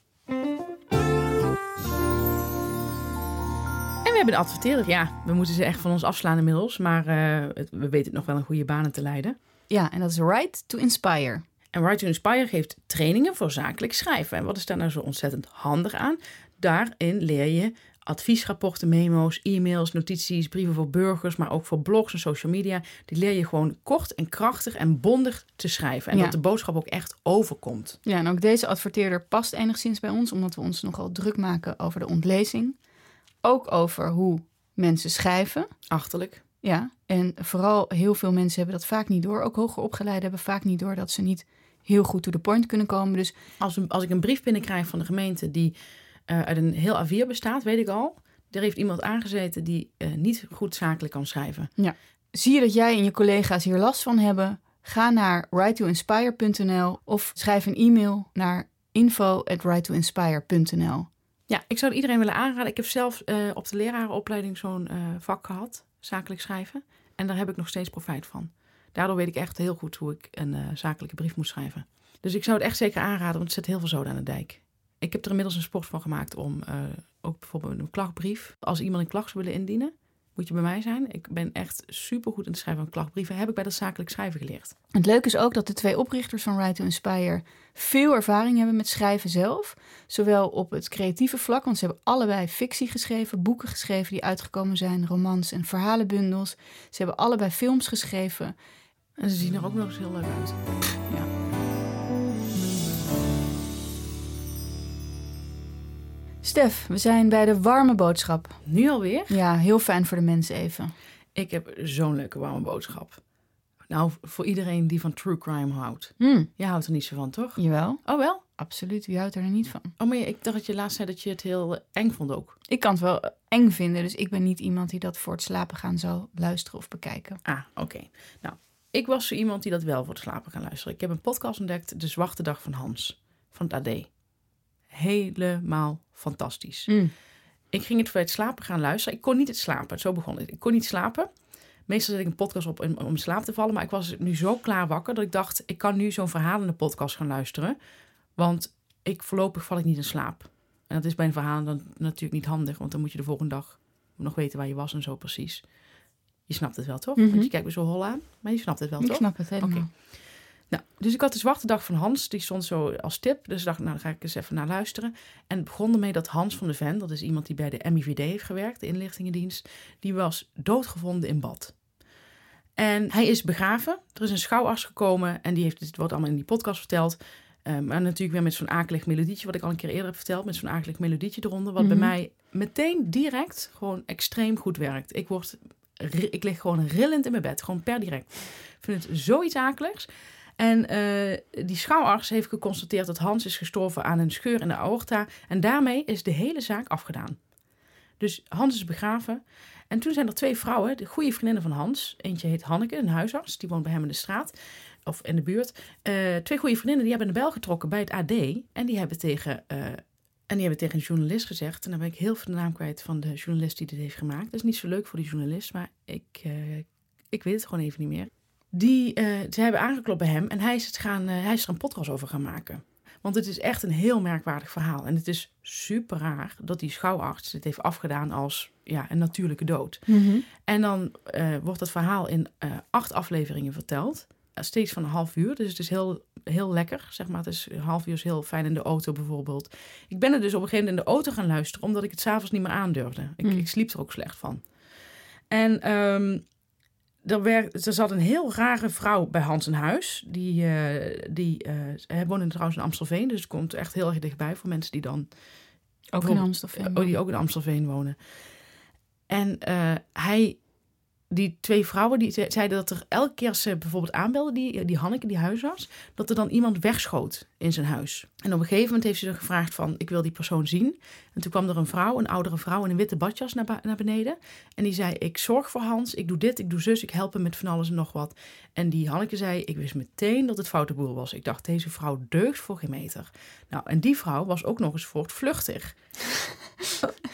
[SPEAKER 1] En we hebben een adverteerder. Ja, we moeten ze echt van ons afslaan inmiddels. Maar eh, het- we weten het nog wel een goede banen te leiden.
[SPEAKER 2] Ja, en dat is Right to Inspire.
[SPEAKER 1] En Right to Inspire geeft trainingen voor zakelijk schrijven. En wat is daar nou zo ontzettend handig aan? Daarin leer je adviesrapporten, memo's, e-mails, notities, brieven voor burgers, maar ook voor blogs en social media. Die leer je gewoon kort en krachtig en bondig te schrijven. En
[SPEAKER 2] Ja.
[SPEAKER 1] dat de boodschap ook echt overkomt.
[SPEAKER 2] Ja, en ook deze adverteerder past enigszins bij ons, omdat we ons nogal druk maken over de ontlezing. Ook over hoe mensen schrijven.
[SPEAKER 1] Achterlijk.
[SPEAKER 2] Ja, en vooral heel veel mensen hebben dat vaak niet door. Ook hoger opgeleiden hebben vaak niet door dat ze niet heel goed to the point kunnen komen. Dus
[SPEAKER 1] Als, een- als ik een brief binnenkrijg van de gemeente die eh, uit een heel A4 bestaat, weet ik al. Er heeft iemand aangezeten die eh, niet goed zakelijk kan schrijven.
[SPEAKER 2] zie je dat jij en je collega's hier last van hebben? Ga naar righttoinspire.nl of schrijf een e-mail naar info@righttoinspire.nl.
[SPEAKER 1] Ja, ik zou het iedereen willen aanraden. Ik heb zelf eh, op de lerarenopleiding zo'n eh, vak gehad, zakelijk schrijven. En daar heb ik nog steeds profijt van. Daardoor weet ik echt heel goed hoe ik een eh, zakelijke brief moet schrijven. Dus ik zou het echt zeker aanraden, want het zet heel veel zoden aan de dijk. Ik heb er inmiddels een sport van gemaakt om eh, ook bijvoorbeeld een klachtbrief, als iemand een klacht zou willen indienen, moet je bij mij zijn. Ik ben echt supergoed in het schrijven van klachtbrieven. Heb ik bij dat zakelijk schrijven geleerd.
[SPEAKER 2] Het leuke is ook dat de twee oprichters van Right to Inspire veel ervaring hebben met schrijven zelf. Zowel op het creatieve vlak, want ze hebben allebei fictie geschreven, boeken geschreven die uitgekomen zijn, romans en verhalenbundels. Ze hebben allebei films geschreven.
[SPEAKER 1] En ze zien er ook nog eens heel leuk uit.
[SPEAKER 2] Stef, we zijn bij de warme boodschap.
[SPEAKER 1] Nu alweer.
[SPEAKER 2] Ja, heel fijn voor de mensen even.
[SPEAKER 1] Ik heb zo'n leuke warme boodschap. Nou, voor iedereen die van true crime houdt.
[SPEAKER 2] Hmm,
[SPEAKER 1] Jij houdt er niet zo van, toch?
[SPEAKER 2] jawel,
[SPEAKER 1] Oh wel?
[SPEAKER 2] absoluut. Wie houdt er niet van?
[SPEAKER 1] Oh, maar ik dacht dat je laatst zei dat je het heel eh, eng vond ook.
[SPEAKER 2] Ik kan het wel eh, eng vinden, dus ik ben niet iemand die dat voor het slapen gaan zal luisteren of bekijken.
[SPEAKER 1] Ah, oké. Nou, ik was zo iemand die dat wel voor het slapen kan luisteren. Ik heb een podcast ontdekt, De Zwarte Dag van Hans, van het AD. Helemaal fantastisch.
[SPEAKER 2] Mm.
[SPEAKER 1] Ik ging het voor het slapen gaan luisteren. Ik kon niet het slapen. Zo begon het. Ik kon niet slapen. Meestal zet ik een podcast op om, om in slaap te vallen. Maar ik was nu zo klaar wakker dat ik dacht... ik kan nu zo'n verhalende podcast gaan luisteren. Want ik, voorlopig val ik niet in slaap. En dat is bij een verhaal dan natuurlijk niet handig. Want dan moet je de volgende dag nog weten waar je was en zo precies. Je snapt het wel, toch?
[SPEAKER 2] Mhm.
[SPEAKER 1] Want je kijkt me zo hol aan. Maar je snapt het wel,
[SPEAKER 2] Ik
[SPEAKER 1] toch?
[SPEAKER 2] snap het helemaal.
[SPEAKER 1] Oké. Nou, dus ik had de zwarte dag van Hans, die stond zo als tip. Dus ik dacht, nou, daar ga ik eens even naar luisteren. En het begon ermee dat Hans van de Ven, dat is iemand die bij de MIVD heeft gewerkt, de inlichtingendienst, die was doodgevonden in bad. En hij is begraven. Er is een schouwarts gekomen en die heeft dit wordt allemaal in die podcast verteld. Ehm, maar natuurlijk weer met zo'n akelig melodietje, wat ik al een keer eerder heb verteld, met zo'n akelig melodietje eronder, wat
[SPEAKER 2] Mhm.
[SPEAKER 1] bij mij meteen direct gewoon extreem goed werkt. Ik word, ri- ik lig gewoon rillend in mijn bed, gewoon per direct. Ik vind het zoiets akeligs. En eh, die schouwarts heeft geconstateerd dat Hans is gestorven aan een scheur in de aorta. En daarmee is de hele zaak afgedaan. Dus Hans is begraven. En toen zijn er twee vrouwen, de goede vriendinnen van Hans. Eentje heet Hanneke, een huisarts. Die woont bij hem in de straat. Of in de buurt. Eh, twee goede vriendinnen die hebben een bel getrokken bij het AD. En die hebben tegen, eh, en die hebben tegen een journalist gezegd. En dan ben ik heel veel de naam kwijt van de journalist die dit heeft gemaakt. Dat is niet zo leuk voor die journalist. Maar ik, eh, ik weet het gewoon even niet meer die, eh, ze hebben aangeklopt bij hem en hij is, het gaan, eh, hij is er een podcast over gaan maken. Want het is echt een heel merkwaardig verhaal. En het is super raar dat die schouwarts dit heeft afgedaan als ja, een natuurlijke dood.
[SPEAKER 2] Mhm.
[SPEAKER 1] En dan eh, wordt dat verhaal in eh, acht afleveringen verteld. Eh, steeds van een half uur. Dus het is heel, heel lekker. Zeg maar. Het is een half uur is heel fijn in de auto bijvoorbeeld. Ik ben er dus op een gegeven moment in de auto gaan luisteren, omdat ik het s'avonds niet meer aandurfde. Ik,
[SPEAKER 2] Mm.
[SPEAKER 1] ik sliep er ook slecht van. En ehm, er, werd, er zat een heel rare vrouw bij Hans in huis. Die, eh, die eh, hij woonde trouwens in Amstelveen, dus het komt echt heel erg dichtbij voor mensen die dan
[SPEAKER 2] Ook in
[SPEAKER 1] Bijvoorbeeld-
[SPEAKER 2] Amsterdam.
[SPEAKER 1] Oh, die ook in Amstelveen wonen. En eh, hij, die twee vrouwen, die ze- zeiden dat er elke keer als ze bijvoorbeeld aanbelden, die, die Hanneke, die huisarts, dat er dan iemand wegschoot in zijn huis. En op een gegeven moment heeft ze dan gevraagd van, ik wil die persoon zien. En toen kwam er een vrouw, een oudere vrouw in een witte badjas naar, ba- naar beneden. En die zei, ik zorg voor Hans, ik doe dit, ik doe zus, ik help hem met van alles en nog wat. En die Hanneke zei, ik wist meteen dat het foute boel was. Ik dacht, deze vrouw deugt voor geen meter. Nou, en die vrouw was ook nog eens voortvluchtig.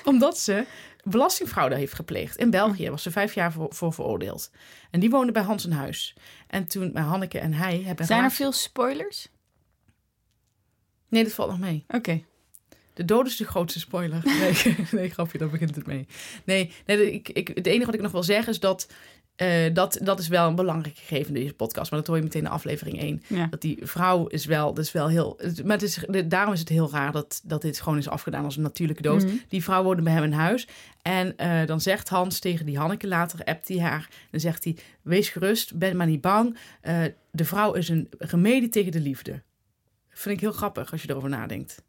[SPEAKER 1] Omdat ze belastingfraude heeft gepleegd. In België was ze vijf jaar voor, voor veroordeeld. En die woonde bij Hans in huis. En toen, maar Hanneke en hij hebben... een
[SPEAKER 2] Zijn er
[SPEAKER 1] relatie-
[SPEAKER 2] veel spoilers? Mhm.
[SPEAKER 1] Nee, dat valt nog mee.
[SPEAKER 2] Oké.
[SPEAKER 1] De dood is de grootste spoiler. Nee, nee grapje, daar begint het mee. Nee, nee de- ik, ik, het enige wat ik nog wil zeggen is dat, eh, dat... Dat is wel een belangrijk gegeven in deze podcast. Maar dat hoor je meteen in aflevering 1.
[SPEAKER 2] Ja.
[SPEAKER 1] Dat die vrouw is wel... Dat is wel heel... het- Maar het is, de- daarom is het heel raar dat, dat dit gewoon is afgedaan als een natuurlijke dood.
[SPEAKER 2] Mhm.
[SPEAKER 1] Die vrouw woonde bij hem in huis. En eh, dan zegt Hans tegen die Hanneke later, appt hij haar. Dan zegt hij, wees gerust, ben maar niet bang. Eh, de vrouw is een remedie tegen de liefde. Vind ik heel grappig als je erover nadenkt.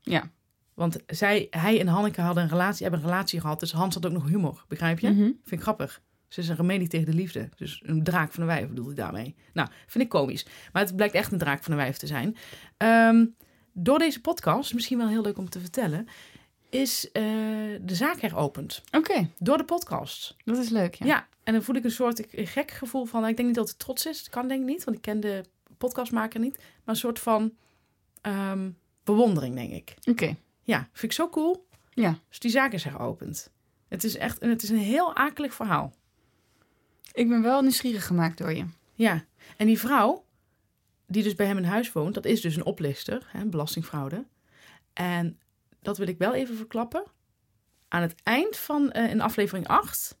[SPEAKER 2] Ja.
[SPEAKER 1] Want zij, hij en Hanneke hadden een relatie, hebben een relatie gehad. Dus Hans had ook nog humor, begrijp je?
[SPEAKER 2] Mhm.
[SPEAKER 1] Vind ik grappig. Ze is een remedie tegen de liefde. Dus een draak van de wijf bedoel ik daarmee. Nou, vind ik komisch. Maar het blijkt echt een draak van de wijf te zijn. Ehm, door deze podcast, misschien wel heel leuk om te vertellen... is eh, de zaak heropend.
[SPEAKER 2] Oké,
[SPEAKER 1] Door de podcast.
[SPEAKER 2] dat is leuk.
[SPEAKER 1] Ja.
[SPEAKER 2] Ja.
[SPEAKER 1] en dan voel ik een soort gek gevoel van... Ik denk niet dat het trots is. Dat kan denk ik niet, want ik ken de podcastmaker niet. Maar een soort van ehm, bewondering, denk ik.
[SPEAKER 2] Oké.
[SPEAKER 1] Ja, vind ik zo cool.
[SPEAKER 2] Ja.
[SPEAKER 1] Dus die zaak is heropend. Het is echt en het is een heel akelig verhaal.
[SPEAKER 2] Ik ben wel nieuwsgierig gemaakt door je.
[SPEAKER 1] Ja. En die vrouw, die dus bij hem in huis woont, dat is dus een oplichter, hè, belastingfraude. En dat wil ik wel even verklappen. Aan het eind van eh, in aflevering 8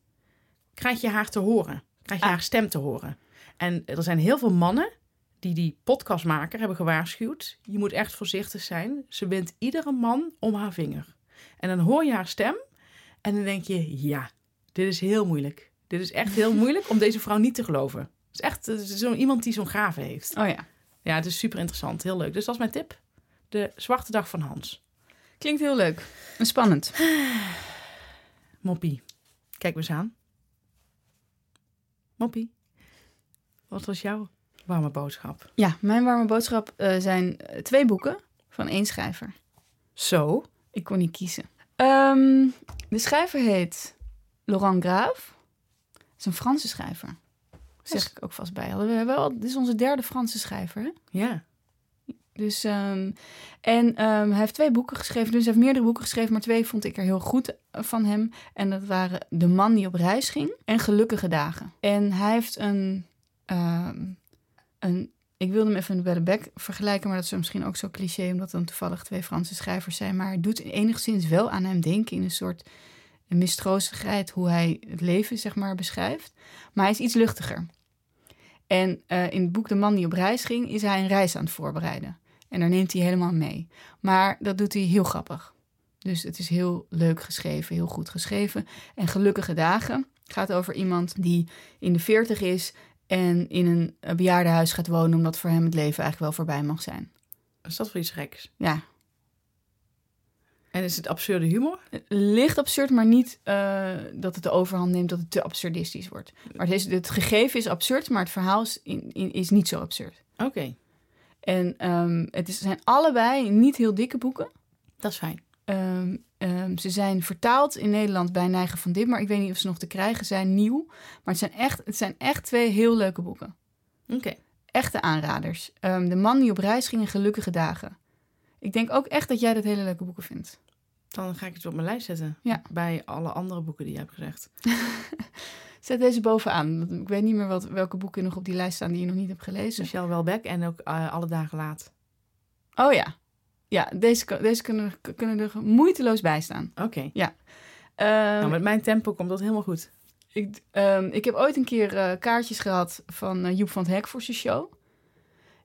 [SPEAKER 1] krijg je haar te horen. Krijg je
[SPEAKER 2] Ah.
[SPEAKER 1] haar stem te horen. En er zijn heel veel mannen die die podcastmaker hebben gewaarschuwd. Je moet echt voorzichtig zijn. Ze bindt iedere man om haar vinger. En dan hoor je haar stem en dan denk je, ja, dit is heel moeilijk. Dit is echt heel moeilijk om deze vrouw niet te geloven. Het is echt eh, zo iemand die zo'n gave heeft.
[SPEAKER 2] Oh ja.
[SPEAKER 1] Ja, het is super interessant. Heel leuk. Dus dat is mijn tip. De Zwarte Dag van Hans.
[SPEAKER 2] Klinkt heel leuk. En spannend.
[SPEAKER 1] Moppie. Kijk me eens aan. Moppie. Wat was jouw warme boodschap?
[SPEAKER 2] Ja, mijn warme boodschap eh, zijn eh, twee boeken van één schrijver.
[SPEAKER 1] Zo.
[SPEAKER 2] Ik kon niet kiezen. Ehm, de schrijver heet Laurent Graaf. Dat is een Franse schrijver. Zeg ik ook vast bij. Hadden we wel, dit is onze derde Franse schrijver. Hè?
[SPEAKER 1] Ja.
[SPEAKER 2] Dus, ehm, en ehm, hij heeft twee boeken geschreven. Dus hij heeft meerdere boeken geschreven, maar twee vond ik er heel goed eh, van hem. En dat waren De man die op reis ging en Gelukkige dagen. En hij heeft een, ehm, een ik wilde hem even bij de bek vergelijken, maar dat is misschien ook zo cliché, omdat dan toevallig twee Franse schrijvers zijn. Maar het doet enigszins wel aan hem denken in een soort mistroostigheid hoe hij het leven, zeg maar, beschrijft. Maar hij is iets luchtiger. En eh, in het boek De man die op reis ging, is hij een reis aan het voorbereiden. En daar neemt hij helemaal mee. Maar dat doet hij heel grappig. Dus het is heel leuk geschreven, heel goed geschreven. En Gelukkige Dagen gaat over iemand die in de 40 is en in een eh, bejaardenhuis gaat wonen, omdat voor hem het leven eigenlijk wel voorbij mag zijn.
[SPEAKER 1] Is dat voor iets geks?
[SPEAKER 2] Ja,
[SPEAKER 1] En is het absurde humor?
[SPEAKER 2] licht absurd, maar niet eh, dat het de overhand neemt, dat het te absurdistisch wordt. Maar het, is, het gegeven is absurd, maar het verhaal is, in- in- is niet zo absurd.
[SPEAKER 1] Oké.
[SPEAKER 2] En ehm, het is, zijn allebei niet heel dikke boeken.
[SPEAKER 1] Dat is fijn.
[SPEAKER 2] Ehm, ehm, ze zijn vertaald in Nederland bij Neigen van Dit, maar ik weet niet of ze nog te krijgen zijn, nieuw. Maar het zijn echt, het zijn echt twee heel leuke boeken.
[SPEAKER 1] Oké.
[SPEAKER 2] Echte aanraders. Ehm, de man die op reis ging in gelukkige dagen. Ik denk ook echt dat jij dat hele leuke boeken vindt.
[SPEAKER 1] Dan ga ik het op mijn lijst zetten.
[SPEAKER 2] Ja.
[SPEAKER 1] Bij alle andere boeken die je hebt gezegd.
[SPEAKER 2] Zet deze bovenaan. want Ik weet niet meer wat, welke boeken nog op die lijst staan die je nog niet hebt gelezen.
[SPEAKER 1] Michelle Welbeck en ook eh, Alle Dagen Laat.
[SPEAKER 2] Oh ja. Ja, deze, kan- deze kunnen, er- kunnen er moeiteloos bij staan.
[SPEAKER 1] Oké.
[SPEAKER 2] Ehm,
[SPEAKER 1] Nou, met mijn tempo komt dat helemaal goed.
[SPEAKER 2] Ik, ehm, ik heb ooit een keer eh, kaartjes gehad van eh, Joep van het Hek voor zijn show.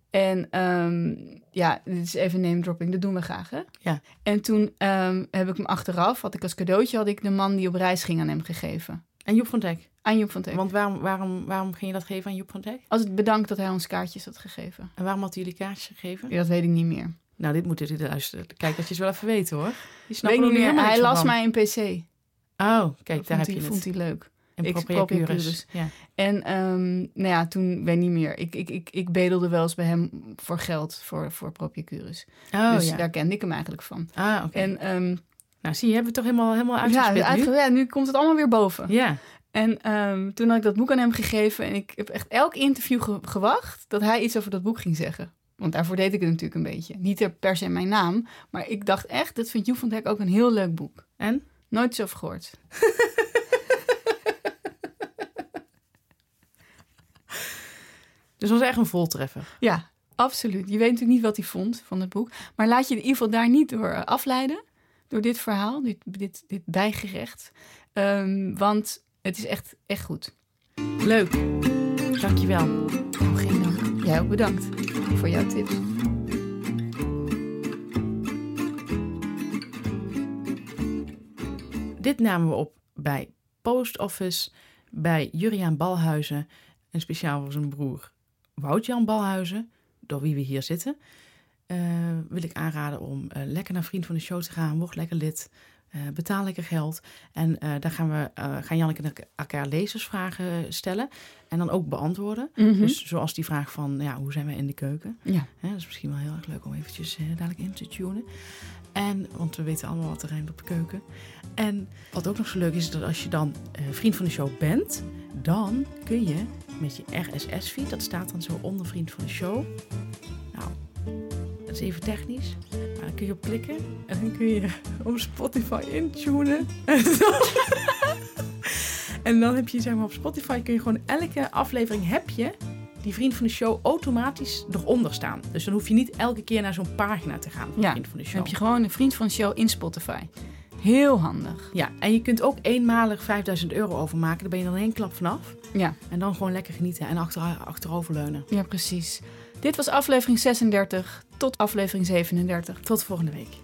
[SPEAKER 2] En ehm, ja, dit is even name dropping, dat doen we graag hè.
[SPEAKER 1] Ja.
[SPEAKER 2] En toen ehm, heb ik hem achteraf, had ik als cadeautje, had ik de man die op reis ging aan hem gegeven.
[SPEAKER 1] En Joep van Dijk.
[SPEAKER 2] Aan Joep van het Hek.
[SPEAKER 1] Want waarom, waarom, waarom ging je dat geven aan Joep van Dijk?
[SPEAKER 2] Als het bedankt dat hij ons kaartjes had gegeven.
[SPEAKER 1] En waarom had hij jullie kaartjes gegeven?
[SPEAKER 2] Ja, dat weet ik niet meer.
[SPEAKER 1] Nou, dit moeten jullie luisteren. Kijk, dat je het wel even weten hoor. Je
[SPEAKER 2] weet
[SPEAKER 1] snapt
[SPEAKER 2] ik niet meer, hij las
[SPEAKER 1] mij.
[SPEAKER 2] mij in PC.
[SPEAKER 1] Oh, kijk,
[SPEAKER 2] Dat
[SPEAKER 1] daar
[SPEAKER 2] vond
[SPEAKER 1] heb
[SPEAKER 2] hij,
[SPEAKER 1] je
[SPEAKER 2] vond
[SPEAKER 1] het.
[SPEAKER 2] hij leuk.
[SPEAKER 1] En
[SPEAKER 2] ik-
[SPEAKER 1] propria
[SPEAKER 2] propria
[SPEAKER 1] puris.
[SPEAKER 2] puris.
[SPEAKER 1] Ja.
[SPEAKER 2] En ehm, nou ja, toen, ik weet niet meer, ik, ik, ik, ik bedelde wel eens bij hem voor geld, voor, voor Propicurus.
[SPEAKER 1] Oh
[SPEAKER 2] dus
[SPEAKER 1] ja.
[SPEAKER 2] daar kende ik hem eigenlijk van.
[SPEAKER 1] Ah, oké.
[SPEAKER 2] En ehm,
[SPEAKER 1] Nou, zie je, hebben we het toch helemaal, helemaal
[SPEAKER 2] ja,
[SPEAKER 1] uitgespit
[SPEAKER 2] eigenlijk- ja, nu komt het allemaal weer boven.
[SPEAKER 1] nu? Ja.
[SPEAKER 2] En ehm, toen had ik dat boek aan hem gegeven en ik heb echt elk interview ge- gewacht dat hij iets over dat boek ging zeggen. Want daarvoor deed ik het natuurlijk een beetje. Niet er per se mijn naam, maar ik dacht echt, dat vindt Joep van het Hek ook een heel leuk boek.
[SPEAKER 1] En?
[SPEAKER 2] Nooit iets over gehoord.
[SPEAKER 1] Dus dat was echt een voltreffer.
[SPEAKER 2] Ja, absoluut. Je weet natuurlijk niet wat hij vond van het boek. Maar laat je in ieder geval daar niet door eh, afleiden. Door dit verhaal, dit, dit, dit bijgerecht. Ehm, want het is echt, echt goed.
[SPEAKER 1] Leuk. Dankjewel.
[SPEAKER 2] Oh, geen dank. Jij ook bedankt voor jouw tips.
[SPEAKER 1] Dit namen we op bij Post Office, bij Juriaan Balhuizen en speciaal voor zijn broer Wout-Jan Balhuizen, door wie we hier zitten. eh, wil ik aanraden om eh, lekker naar Vriend van de Show te gaan. Word lekker lid. eh, betaal lekker geld. En eh, daar gaan, we, eh, gaan Janneke en ik elkaar lezersvragen stellen. En dan ook beantwoorden. Dus zoals die vraag van, ja, hoe zijn wij in de keuken?
[SPEAKER 2] Mhm. Ja.
[SPEAKER 1] Hè, dat is misschien wel heel erg leuk om eventjes eh, dadelijk in te tunen. En, want we weten allemaal wat er rijmt op de keuken. En wat ook nog zo leuk is, is dat als je dan eh, vriend van de show bent... dan kun je met je RSS-feed, dat staat dan zo onder vriend van de show... Nou, dat is even technisch. Maar dan kun je op klikken en dan kun je op Spotify intunen. en dan heb je, zeg maar, op Spotify kun je gewoon elke aflevering heb je die vriend van de show automatisch eronder staan. Dus dan hoef je niet elke keer naar zo'n pagina te gaan van
[SPEAKER 2] Ja,
[SPEAKER 1] vriend van de show.
[SPEAKER 2] Dan heb je gewoon een vriend van de show in Spotify. Heel handig.
[SPEAKER 1] Ja, en je kunt ook eenmalig 5000 euro overmaken. Daar ben je dan één klap vanaf.
[SPEAKER 2] Ja.
[SPEAKER 1] En dan gewoon lekker genieten en achter, achteroverleunen.
[SPEAKER 2] Ja, precies. Dit was aflevering 36 tot aflevering 37.
[SPEAKER 1] Tot volgende week.